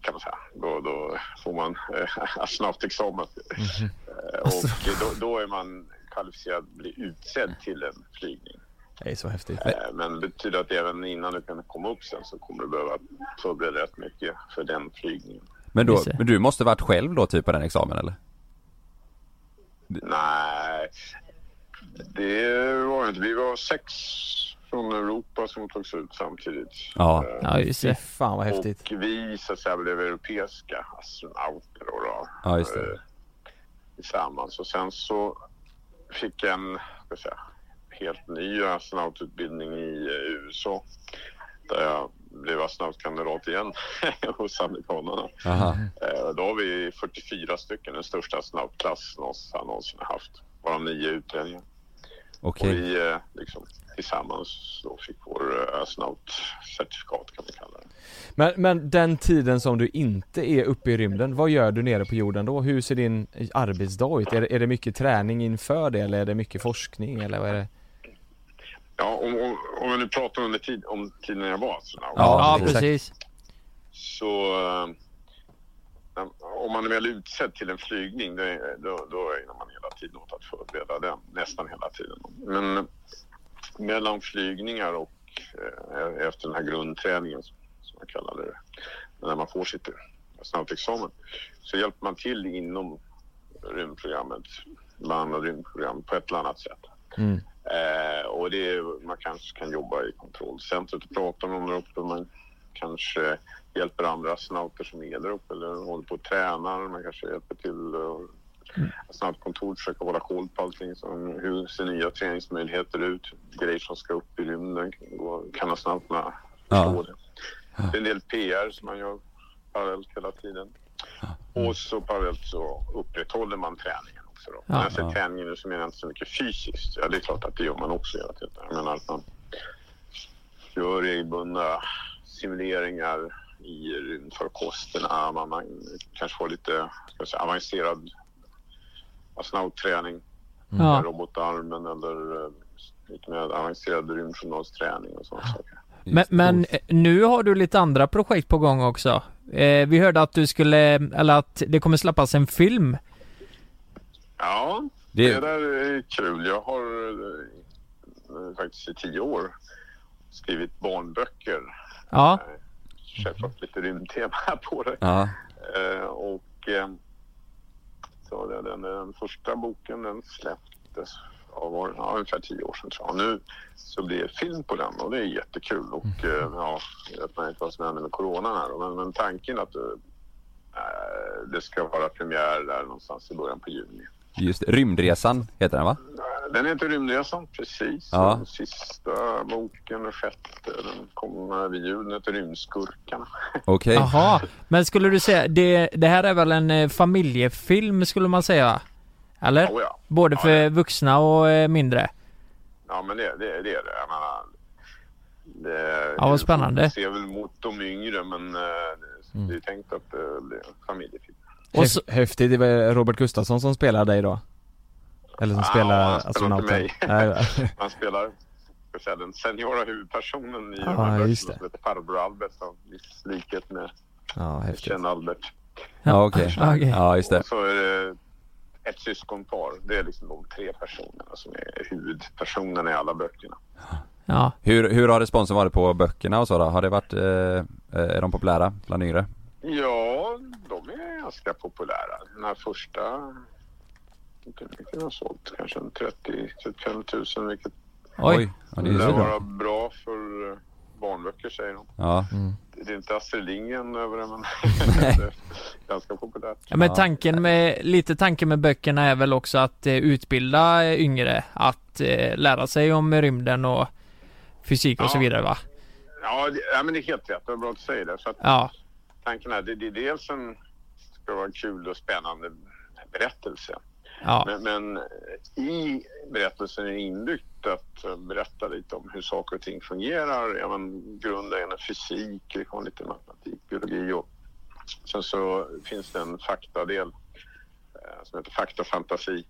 Speaker 6: kan man säga, då, då får man eh, astronautexamen. Eh, och då, då är man kvalificerad att bli utsedd till en flygning.
Speaker 12: Det är så häftigt.
Speaker 6: Eh, men det betyder att även innan du kan komma upp sen så kommer du behöva förbereda rätt mycket för den flygningen.
Speaker 4: Men, då,
Speaker 2: Just det.
Speaker 4: men du måste varit själv då typ på den examen eller?
Speaker 6: Nej, det var det inte. Vi var sex från Europa som togs ut samtidigt.
Speaker 4: Ja.
Speaker 6: Eh,
Speaker 2: Ja, just det.
Speaker 12: Fan vad häftigt.
Speaker 6: Och vi så att säga, blev europeiska astronauter då, då,
Speaker 4: Ja, just det.
Speaker 6: eh, tillsammans. Och sen så fick jag en ska jag säga, helt ny astronaututbildning i eh, USA där jag blev astronautkandidat igen hos amerikanerna.
Speaker 4: Aha.
Speaker 6: Eh, Då har vi 44 stycken, den största snabbklass någonsin, någonsin haft. Varav nio utlänningar.
Speaker 4: Okej.
Speaker 6: Och vi eh, liksom, tillsammans då fick vår eh, astronautcertifikat kan man kalla det.
Speaker 12: Men, men den tiden som du inte är uppe i rymden, vad gör du nere på jorden då? Hur ser din arbetsdag ut? Är, det- är det mycket träning inför det eller är det mycket forskning eller vad är det?
Speaker 6: Ja, om, om, om vi nu pratar under tid, om tiden jag var astronaut.
Speaker 2: Ja,
Speaker 4: Ja,
Speaker 2: precis.
Speaker 6: Så eh, när- om man är väl utsedd till en flygning det, då, då ägnar man hela tiden åt att förbereda den. Nästan hela tiden. Men mellan flygningar och eh, efter den här grundträningen som man kallar det, när man får sitt astronautexamen, så hjälper man till inom rymdprogrammet, behandlar rymdprogrammet på ett eller annat sätt. Eh, och det är, man kanske kan jobba i kontrollcentret och prata med någon där uppe. Man kanske hjälper andra astronauter som är där uppe eller håller på och tränar. Man kanske hjälper till eh, astronautkontoret, försöker hålla koll på allting. Som, hur ser nya träningsmöjligheter ut? Grejer som ska upp i rymden. och Kan astronauterna förstå det? Det är en del PR som man gör parallellt hela tiden. Och så parallellt så upprätthåller man träningen också. Då. När jag säger träningen nu så menar jag inte så mycket fysiskt. Ja, det är klart att det gör man också hela tiden. Jag menar att man gör regelbundna simuleringar i rymdfarkosterna. Man, man kanske får lite ska jag säga, avancerad astronautträning med
Speaker 2: Ja.
Speaker 6: robotarmen eller eh, lite mer avancerad rymdjournalsträning och sådana saker.
Speaker 2: Men, men eh, nu har du lite andra projekt på gång också. Eh, vi hörde att du skulle, eller att det kommer släppas en film.
Speaker 6: Ja,
Speaker 4: Det-
Speaker 6: det... där är kul. Jag har eh, faktiskt i tio år skrivit barnböcker.
Speaker 2: Ja,
Speaker 6: Självklart lite rymdtema på det.
Speaker 4: Ja.
Speaker 6: Eh, Och eh, så den, den, den första boken den släpptes ja, var, ja, ungefär tio år sedan tror jag. Nu så blir det film på den och det är jättekul. Och eh, ja, jag vet inte vad som händer med coronan här. Men, men tanken att eh, det ska vara premiär där någonstans i början på juni.
Speaker 4: Just det. Rymdresan heter den va?
Speaker 6: Den heter Rymdresan, precis.
Speaker 4: Ja.
Speaker 6: Den sista boken, den sjätte, den kom vid jul. Den heter Rymdskurkarna.
Speaker 4: Okej.
Speaker 2: jaha. Men skulle du säga, det, det här är väl en eh, familjefilm skulle man säga? Eller?
Speaker 6: Oh, ja.
Speaker 2: Både
Speaker 6: Ja,
Speaker 2: för
Speaker 6: det-
Speaker 2: vuxna och eh, mindre?
Speaker 6: Ja, men det, det, det är det. Jag menar, det
Speaker 2: Ja, vad spännande.
Speaker 6: Det ser väl mot de yngre, men eh, det- det är tänkt att det blir en familjefilm.
Speaker 2: Och så,
Speaker 12: Häf- Häftigt, det var Robert Gustafsson som spelar dig då? Eller som
Speaker 6: Ah,
Speaker 12: spelar
Speaker 6: han spelar inte
Speaker 12: astronauten?
Speaker 6: mig.
Speaker 12: Nej, va?
Speaker 6: Han spelar ska jag säga, den seniora huvudpersonen i
Speaker 12: Ja,
Speaker 6: de här böckerna
Speaker 12: just det.
Speaker 6: som heter Farbror Albert. av Viss likhet med
Speaker 12: ja, häftigt.
Speaker 6: Ken Albert.
Speaker 4: Ja okej.
Speaker 2: Okej.
Speaker 4: Ja just det.
Speaker 6: Och så är det eh, ett syskonpar. Det är liksom de tre personerna som är huvudpersonerna i alla böckerna.
Speaker 2: ja.
Speaker 4: Hur, hur har responsen varit på böckerna och så då? Har det varit, eh, är de populära bland yngre?
Speaker 6: Ja, de är ganska populära. Den här första... Inte mycket den har sålt. Kanske en 30-35 000 vilket
Speaker 2: Oj.
Speaker 4: ja, det är ju
Speaker 6: lär
Speaker 4: så bra.
Speaker 6: vara bra för eh, barnböcker säger de.
Speaker 2: Mm.
Speaker 4: Ja.
Speaker 6: Det det är inte Astrid Lindgren över det, men
Speaker 2: Nej.
Speaker 6: det är ganska populärt.
Speaker 2: Ja, men tanken med, lite tanken med böckerna är väl också att eh, utbilda eh, yngre att eh, lära sig om rymden och fysik och så
Speaker 6: Ja.
Speaker 2: vidare va?
Speaker 6: Ja, det, ja, men det är helt rätt. Det var bra att du säger det. Så att
Speaker 2: Ja,
Speaker 6: tanken är, det, det är dels en, ska vara en kul och spännande berättelse.
Speaker 2: ja,
Speaker 6: Men, men i berättelsen är det inbyggt att eh, berätta lite om hur saker och ting fungerar. Ja, men grundläggande fysik, liksom lite matematik, biologi och sen så finns det en faktadel eh, som heter fakta och fantasi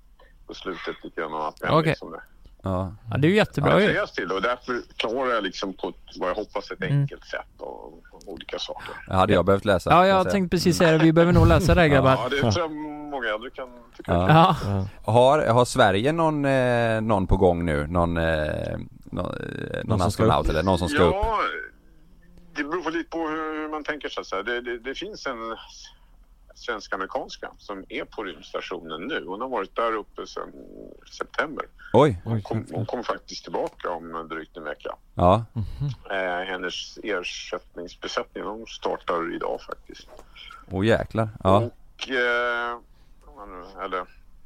Speaker 6: på slutet lite grann om att
Speaker 2: Okej.
Speaker 6: som det
Speaker 4: Ja.
Speaker 2: ja det är ju jättebra ju.
Speaker 6: refereras till och därför klarar jag liksom på ett, vad jag hoppas ett
Speaker 2: Mm.
Speaker 6: enkelt sätt och, och olika saker.
Speaker 4: Hade jag behövt läsa.
Speaker 2: Ja,
Speaker 4: kan
Speaker 2: jag
Speaker 4: säga.
Speaker 2: tänkte precis säga det. Vi behöver nog läsa det här, grabbar.
Speaker 6: Ja, det tror jag många äldre kan tycka.
Speaker 4: Ja.
Speaker 2: Ja,
Speaker 4: Har, har Sverige någon, eh, någon på gång nu? Någon, eh, någon, eh,
Speaker 3: som
Speaker 4: någon
Speaker 3: ska
Speaker 4: astronaut eller någon som ska upp?
Speaker 6: Ja, det beror lite på hur man tänker sig. Så här. Det, det, det finns en svensk-amerikanska som är på rymdstationen nu. Hon har varit där uppe sedan september.
Speaker 4: Oj!
Speaker 6: Hon kom, hon kom faktiskt tillbaka om drygt en vecka.
Speaker 4: Ja.
Speaker 6: Eh, hennes ersättningsbesättning de startar idag faktiskt.
Speaker 4: Åh jäklar. Ja.
Speaker 6: Och, eh, om man nu- eller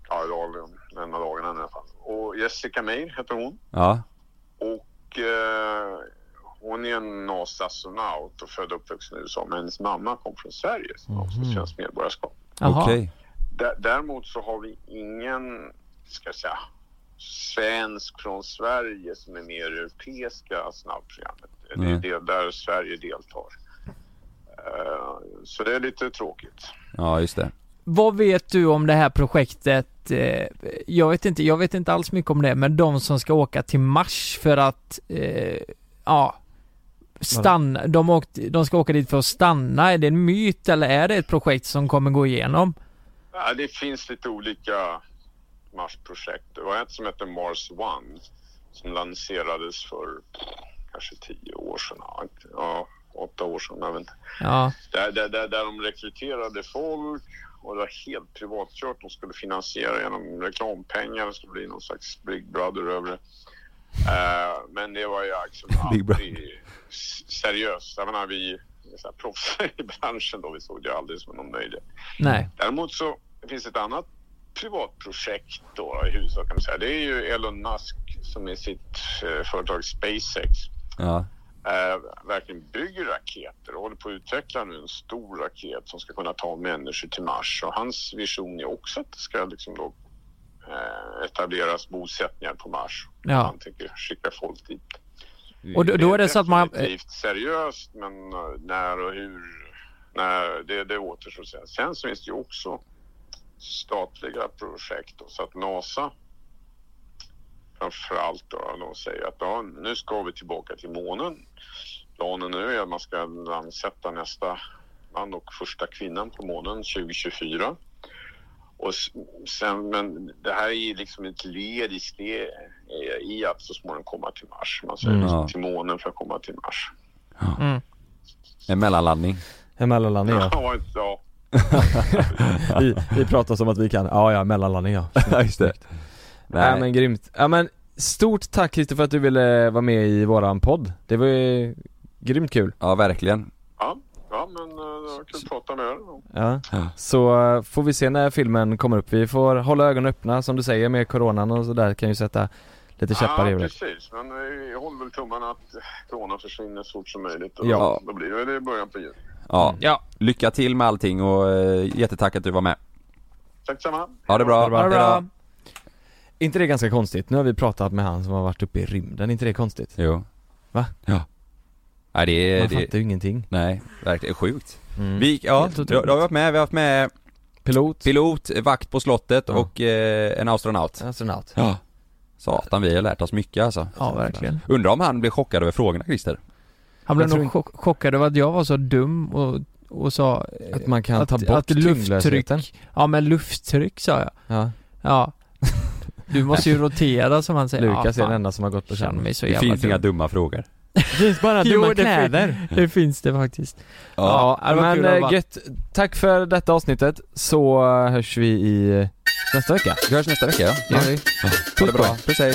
Speaker 6: ja, idag, en av dagarna i alla fall. Och Jessica May heter hon.
Speaker 4: Ja.
Speaker 6: Och eh, hon är en NASA-astronaut och född och uppvuxen i USA. Men hennes mamma kom från Sverige som har också svenskt medborgarskap.
Speaker 2: jaha.
Speaker 4: Okej.
Speaker 6: Dä- Däremot så har vi ingen, ska jag säga, svensk från Sverige som är med i det europeiska snabbprogrammet.
Speaker 4: Nej.
Speaker 6: Det är det där Sverige deltar. Eh, Så det är lite tråkigt.
Speaker 4: Ja, just det.
Speaker 2: Vad vet du om det här projektet? Eh, Jag vet inte, jag vet inte alls mycket om det, men de som ska åka till Mars för att, eh, ja, stanna, de, åkte, de ska åka dit för att stanna. Är det en myt eller är det ett projekt som kommer gå igenom?
Speaker 6: Ja, det finns lite olika Mars-projekt. Det var ett som hette Mars One som lanserades för kanske tio år sedan. ja, inte- Ja, åtta år sedan. Jag vet inte.
Speaker 2: Ja,
Speaker 6: Där, där, där, där de rekryterade folk och det var helt privatkört. De skulle finansiera genom reklampengar. Det skulle bli någon slags Big Brother över det. Eh, men det var ju liksom
Speaker 4: Big Brother.
Speaker 6: aldrig s- seriöst. Jag menar, vi så här, proffs i branschen då, vi såg det aldrig som någon nöjdhet.
Speaker 2: nej.
Speaker 6: Däremot så finns ett annat privatprojekt då i huvudsak kan man säga. Det är ju Elon Musk som i sitt eh, företag SpaceX
Speaker 4: Ja.
Speaker 6: eh, verkligen bygger raketer och håller på att utveckla nu en stor raket som ska kunna ta människor till Mars. Och hans vision är också att det ska liksom då, eh, etableras bosättningar på Mars.
Speaker 2: Ja.
Speaker 6: Han tänker skicka folk dit.
Speaker 2: Och då, då är det så att man... eh,
Speaker 6: Definitivt seriöst, men eh, när och hur, när, det, det återstår att säga. Sen så finns det ju också statliga projekt då, så att NASA framförallt då, de säger att ja, nu ska vi tillbaka till månen. Planen nu är att man ska landsätta nästa man och första kvinnan på månen 2024. Och s- sen, men det här är ju liksom ett led i, ste- eh, i att så småningom komma till Mars. Man säger
Speaker 4: Mm.
Speaker 6: liksom
Speaker 4: Ja.
Speaker 6: till månen för att komma till Mars.
Speaker 2: Mm.
Speaker 4: En mellanlandning.
Speaker 3: En mellanlandning ja.
Speaker 6: Ja, inte- ja.
Speaker 3: Vi, vi pratar som att vi kan, ja ja mellanlandning ja.
Speaker 4: Ja, just det.
Speaker 3: Nej
Speaker 4: Nej.
Speaker 3: men grymt. Ja men stort tack Christer för att du ville vara med i våran podd. Det var ju grymt kul.
Speaker 4: Ja, verkligen.
Speaker 6: ja, ja, men eh, det var kul att prata med er.
Speaker 3: Ja.
Speaker 4: Ja.
Speaker 3: Så eh, får vi se när filmen kommer upp. Vi får hålla ögonen öppna som du säger med coronan och sådär kan ju sätta lite käppar i
Speaker 6: Ja,
Speaker 3: hjulet.
Speaker 6: precis. Men eh, jag håller väl tummarna att corona försvinner så fort som möjligt. Och
Speaker 4: Ja.
Speaker 6: ja. Då blir det väl i början på jul.
Speaker 4: Ja.
Speaker 2: Ja.
Speaker 4: Lycka till med allting och eh, jättetack att du var med.
Speaker 6: Tack samma.
Speaker 4: Ha det bra.
Speaker 2: Ha det bra.
Speaker 3: inte det ganska konstigt? Nu har vi pratat med han som har varit uppe i rymden, inte det konstigt?
Speaker 4: Jo.
Speaker 3: Va?
Speaker 4: Ja. Nej, det är...
Speaker 3: Man
Speaker 4: det...
Speaker 3: fattar ju ingenting.
Speaker 4: Nej, verkligen sjukt.
Speaker 3: Mm.
Speaker 4: Vi, ja,
Speaker 2: Helt
Speaker 4: då,
Speaker 2: otroligt.
Speaker 4: då har vi varit med. Vi har haft med
Speaker 3: Pilot,
Speaker 4: pilot, eh, vakt på slottet
Speaker 3: Ja.
Speaker 4: och eh, en astronaut.
Speaker 3: astronaut.
Speaker 4: Ja. Satan, vi har lärt oss mycket alltså.
Speaker 2: Ja, verkligen.
Speaker 4: Undrar om han blev chockad över frågorna, Christer?
Speaker 2: Han blev
Speaker 3: Jag tror
Speaker 2: nog chock, chockad över att jag var så dum och, och sa... eh,
Speaker 3: Att man kan
Speaker 2: att-
Speaker 3: ta bort
Speaker 2: att lufttryck.
Speaker 3: tyngdlösheten.
Speaker 2: Ja, men lufttryck sa jag.
Speaker 3: Ja.
Speaker 2: Ja. Du måste ju rotera som han säger.
Speaker 3: Lukas
Speaker 2: ja,
Speaker 3: är den
Speaker 2: fan,
Speaker 3: enda som har gått på
Speaker 2: jag känner
Speaker 3: känn.
Speaker 2: mig så
Speaker 4: Det
Speaker 2: jävla
Speaker 4: finns
Speaker 2: dum.
Speaker 4: inga dumma frågor.
Speaker 3: finns bara
Speaker 2: Jo, det fin- Det finns det faktiskt.
Speaker 3: Ja,
Speaker 2: det var
Speaker 3: men
Speaker 2: kul att
Speaker 3: eh,
Speaker 2: vara-
Speaker 3: gött. Tack för detta avsnittet, så eh, hörs vi i eh, nästa vecka.
Speaker 4: Vi hörs nästa vecka, ja.
Speaker 2: Det gör vi.
Speaker 4: Ha det bra. Puss hej.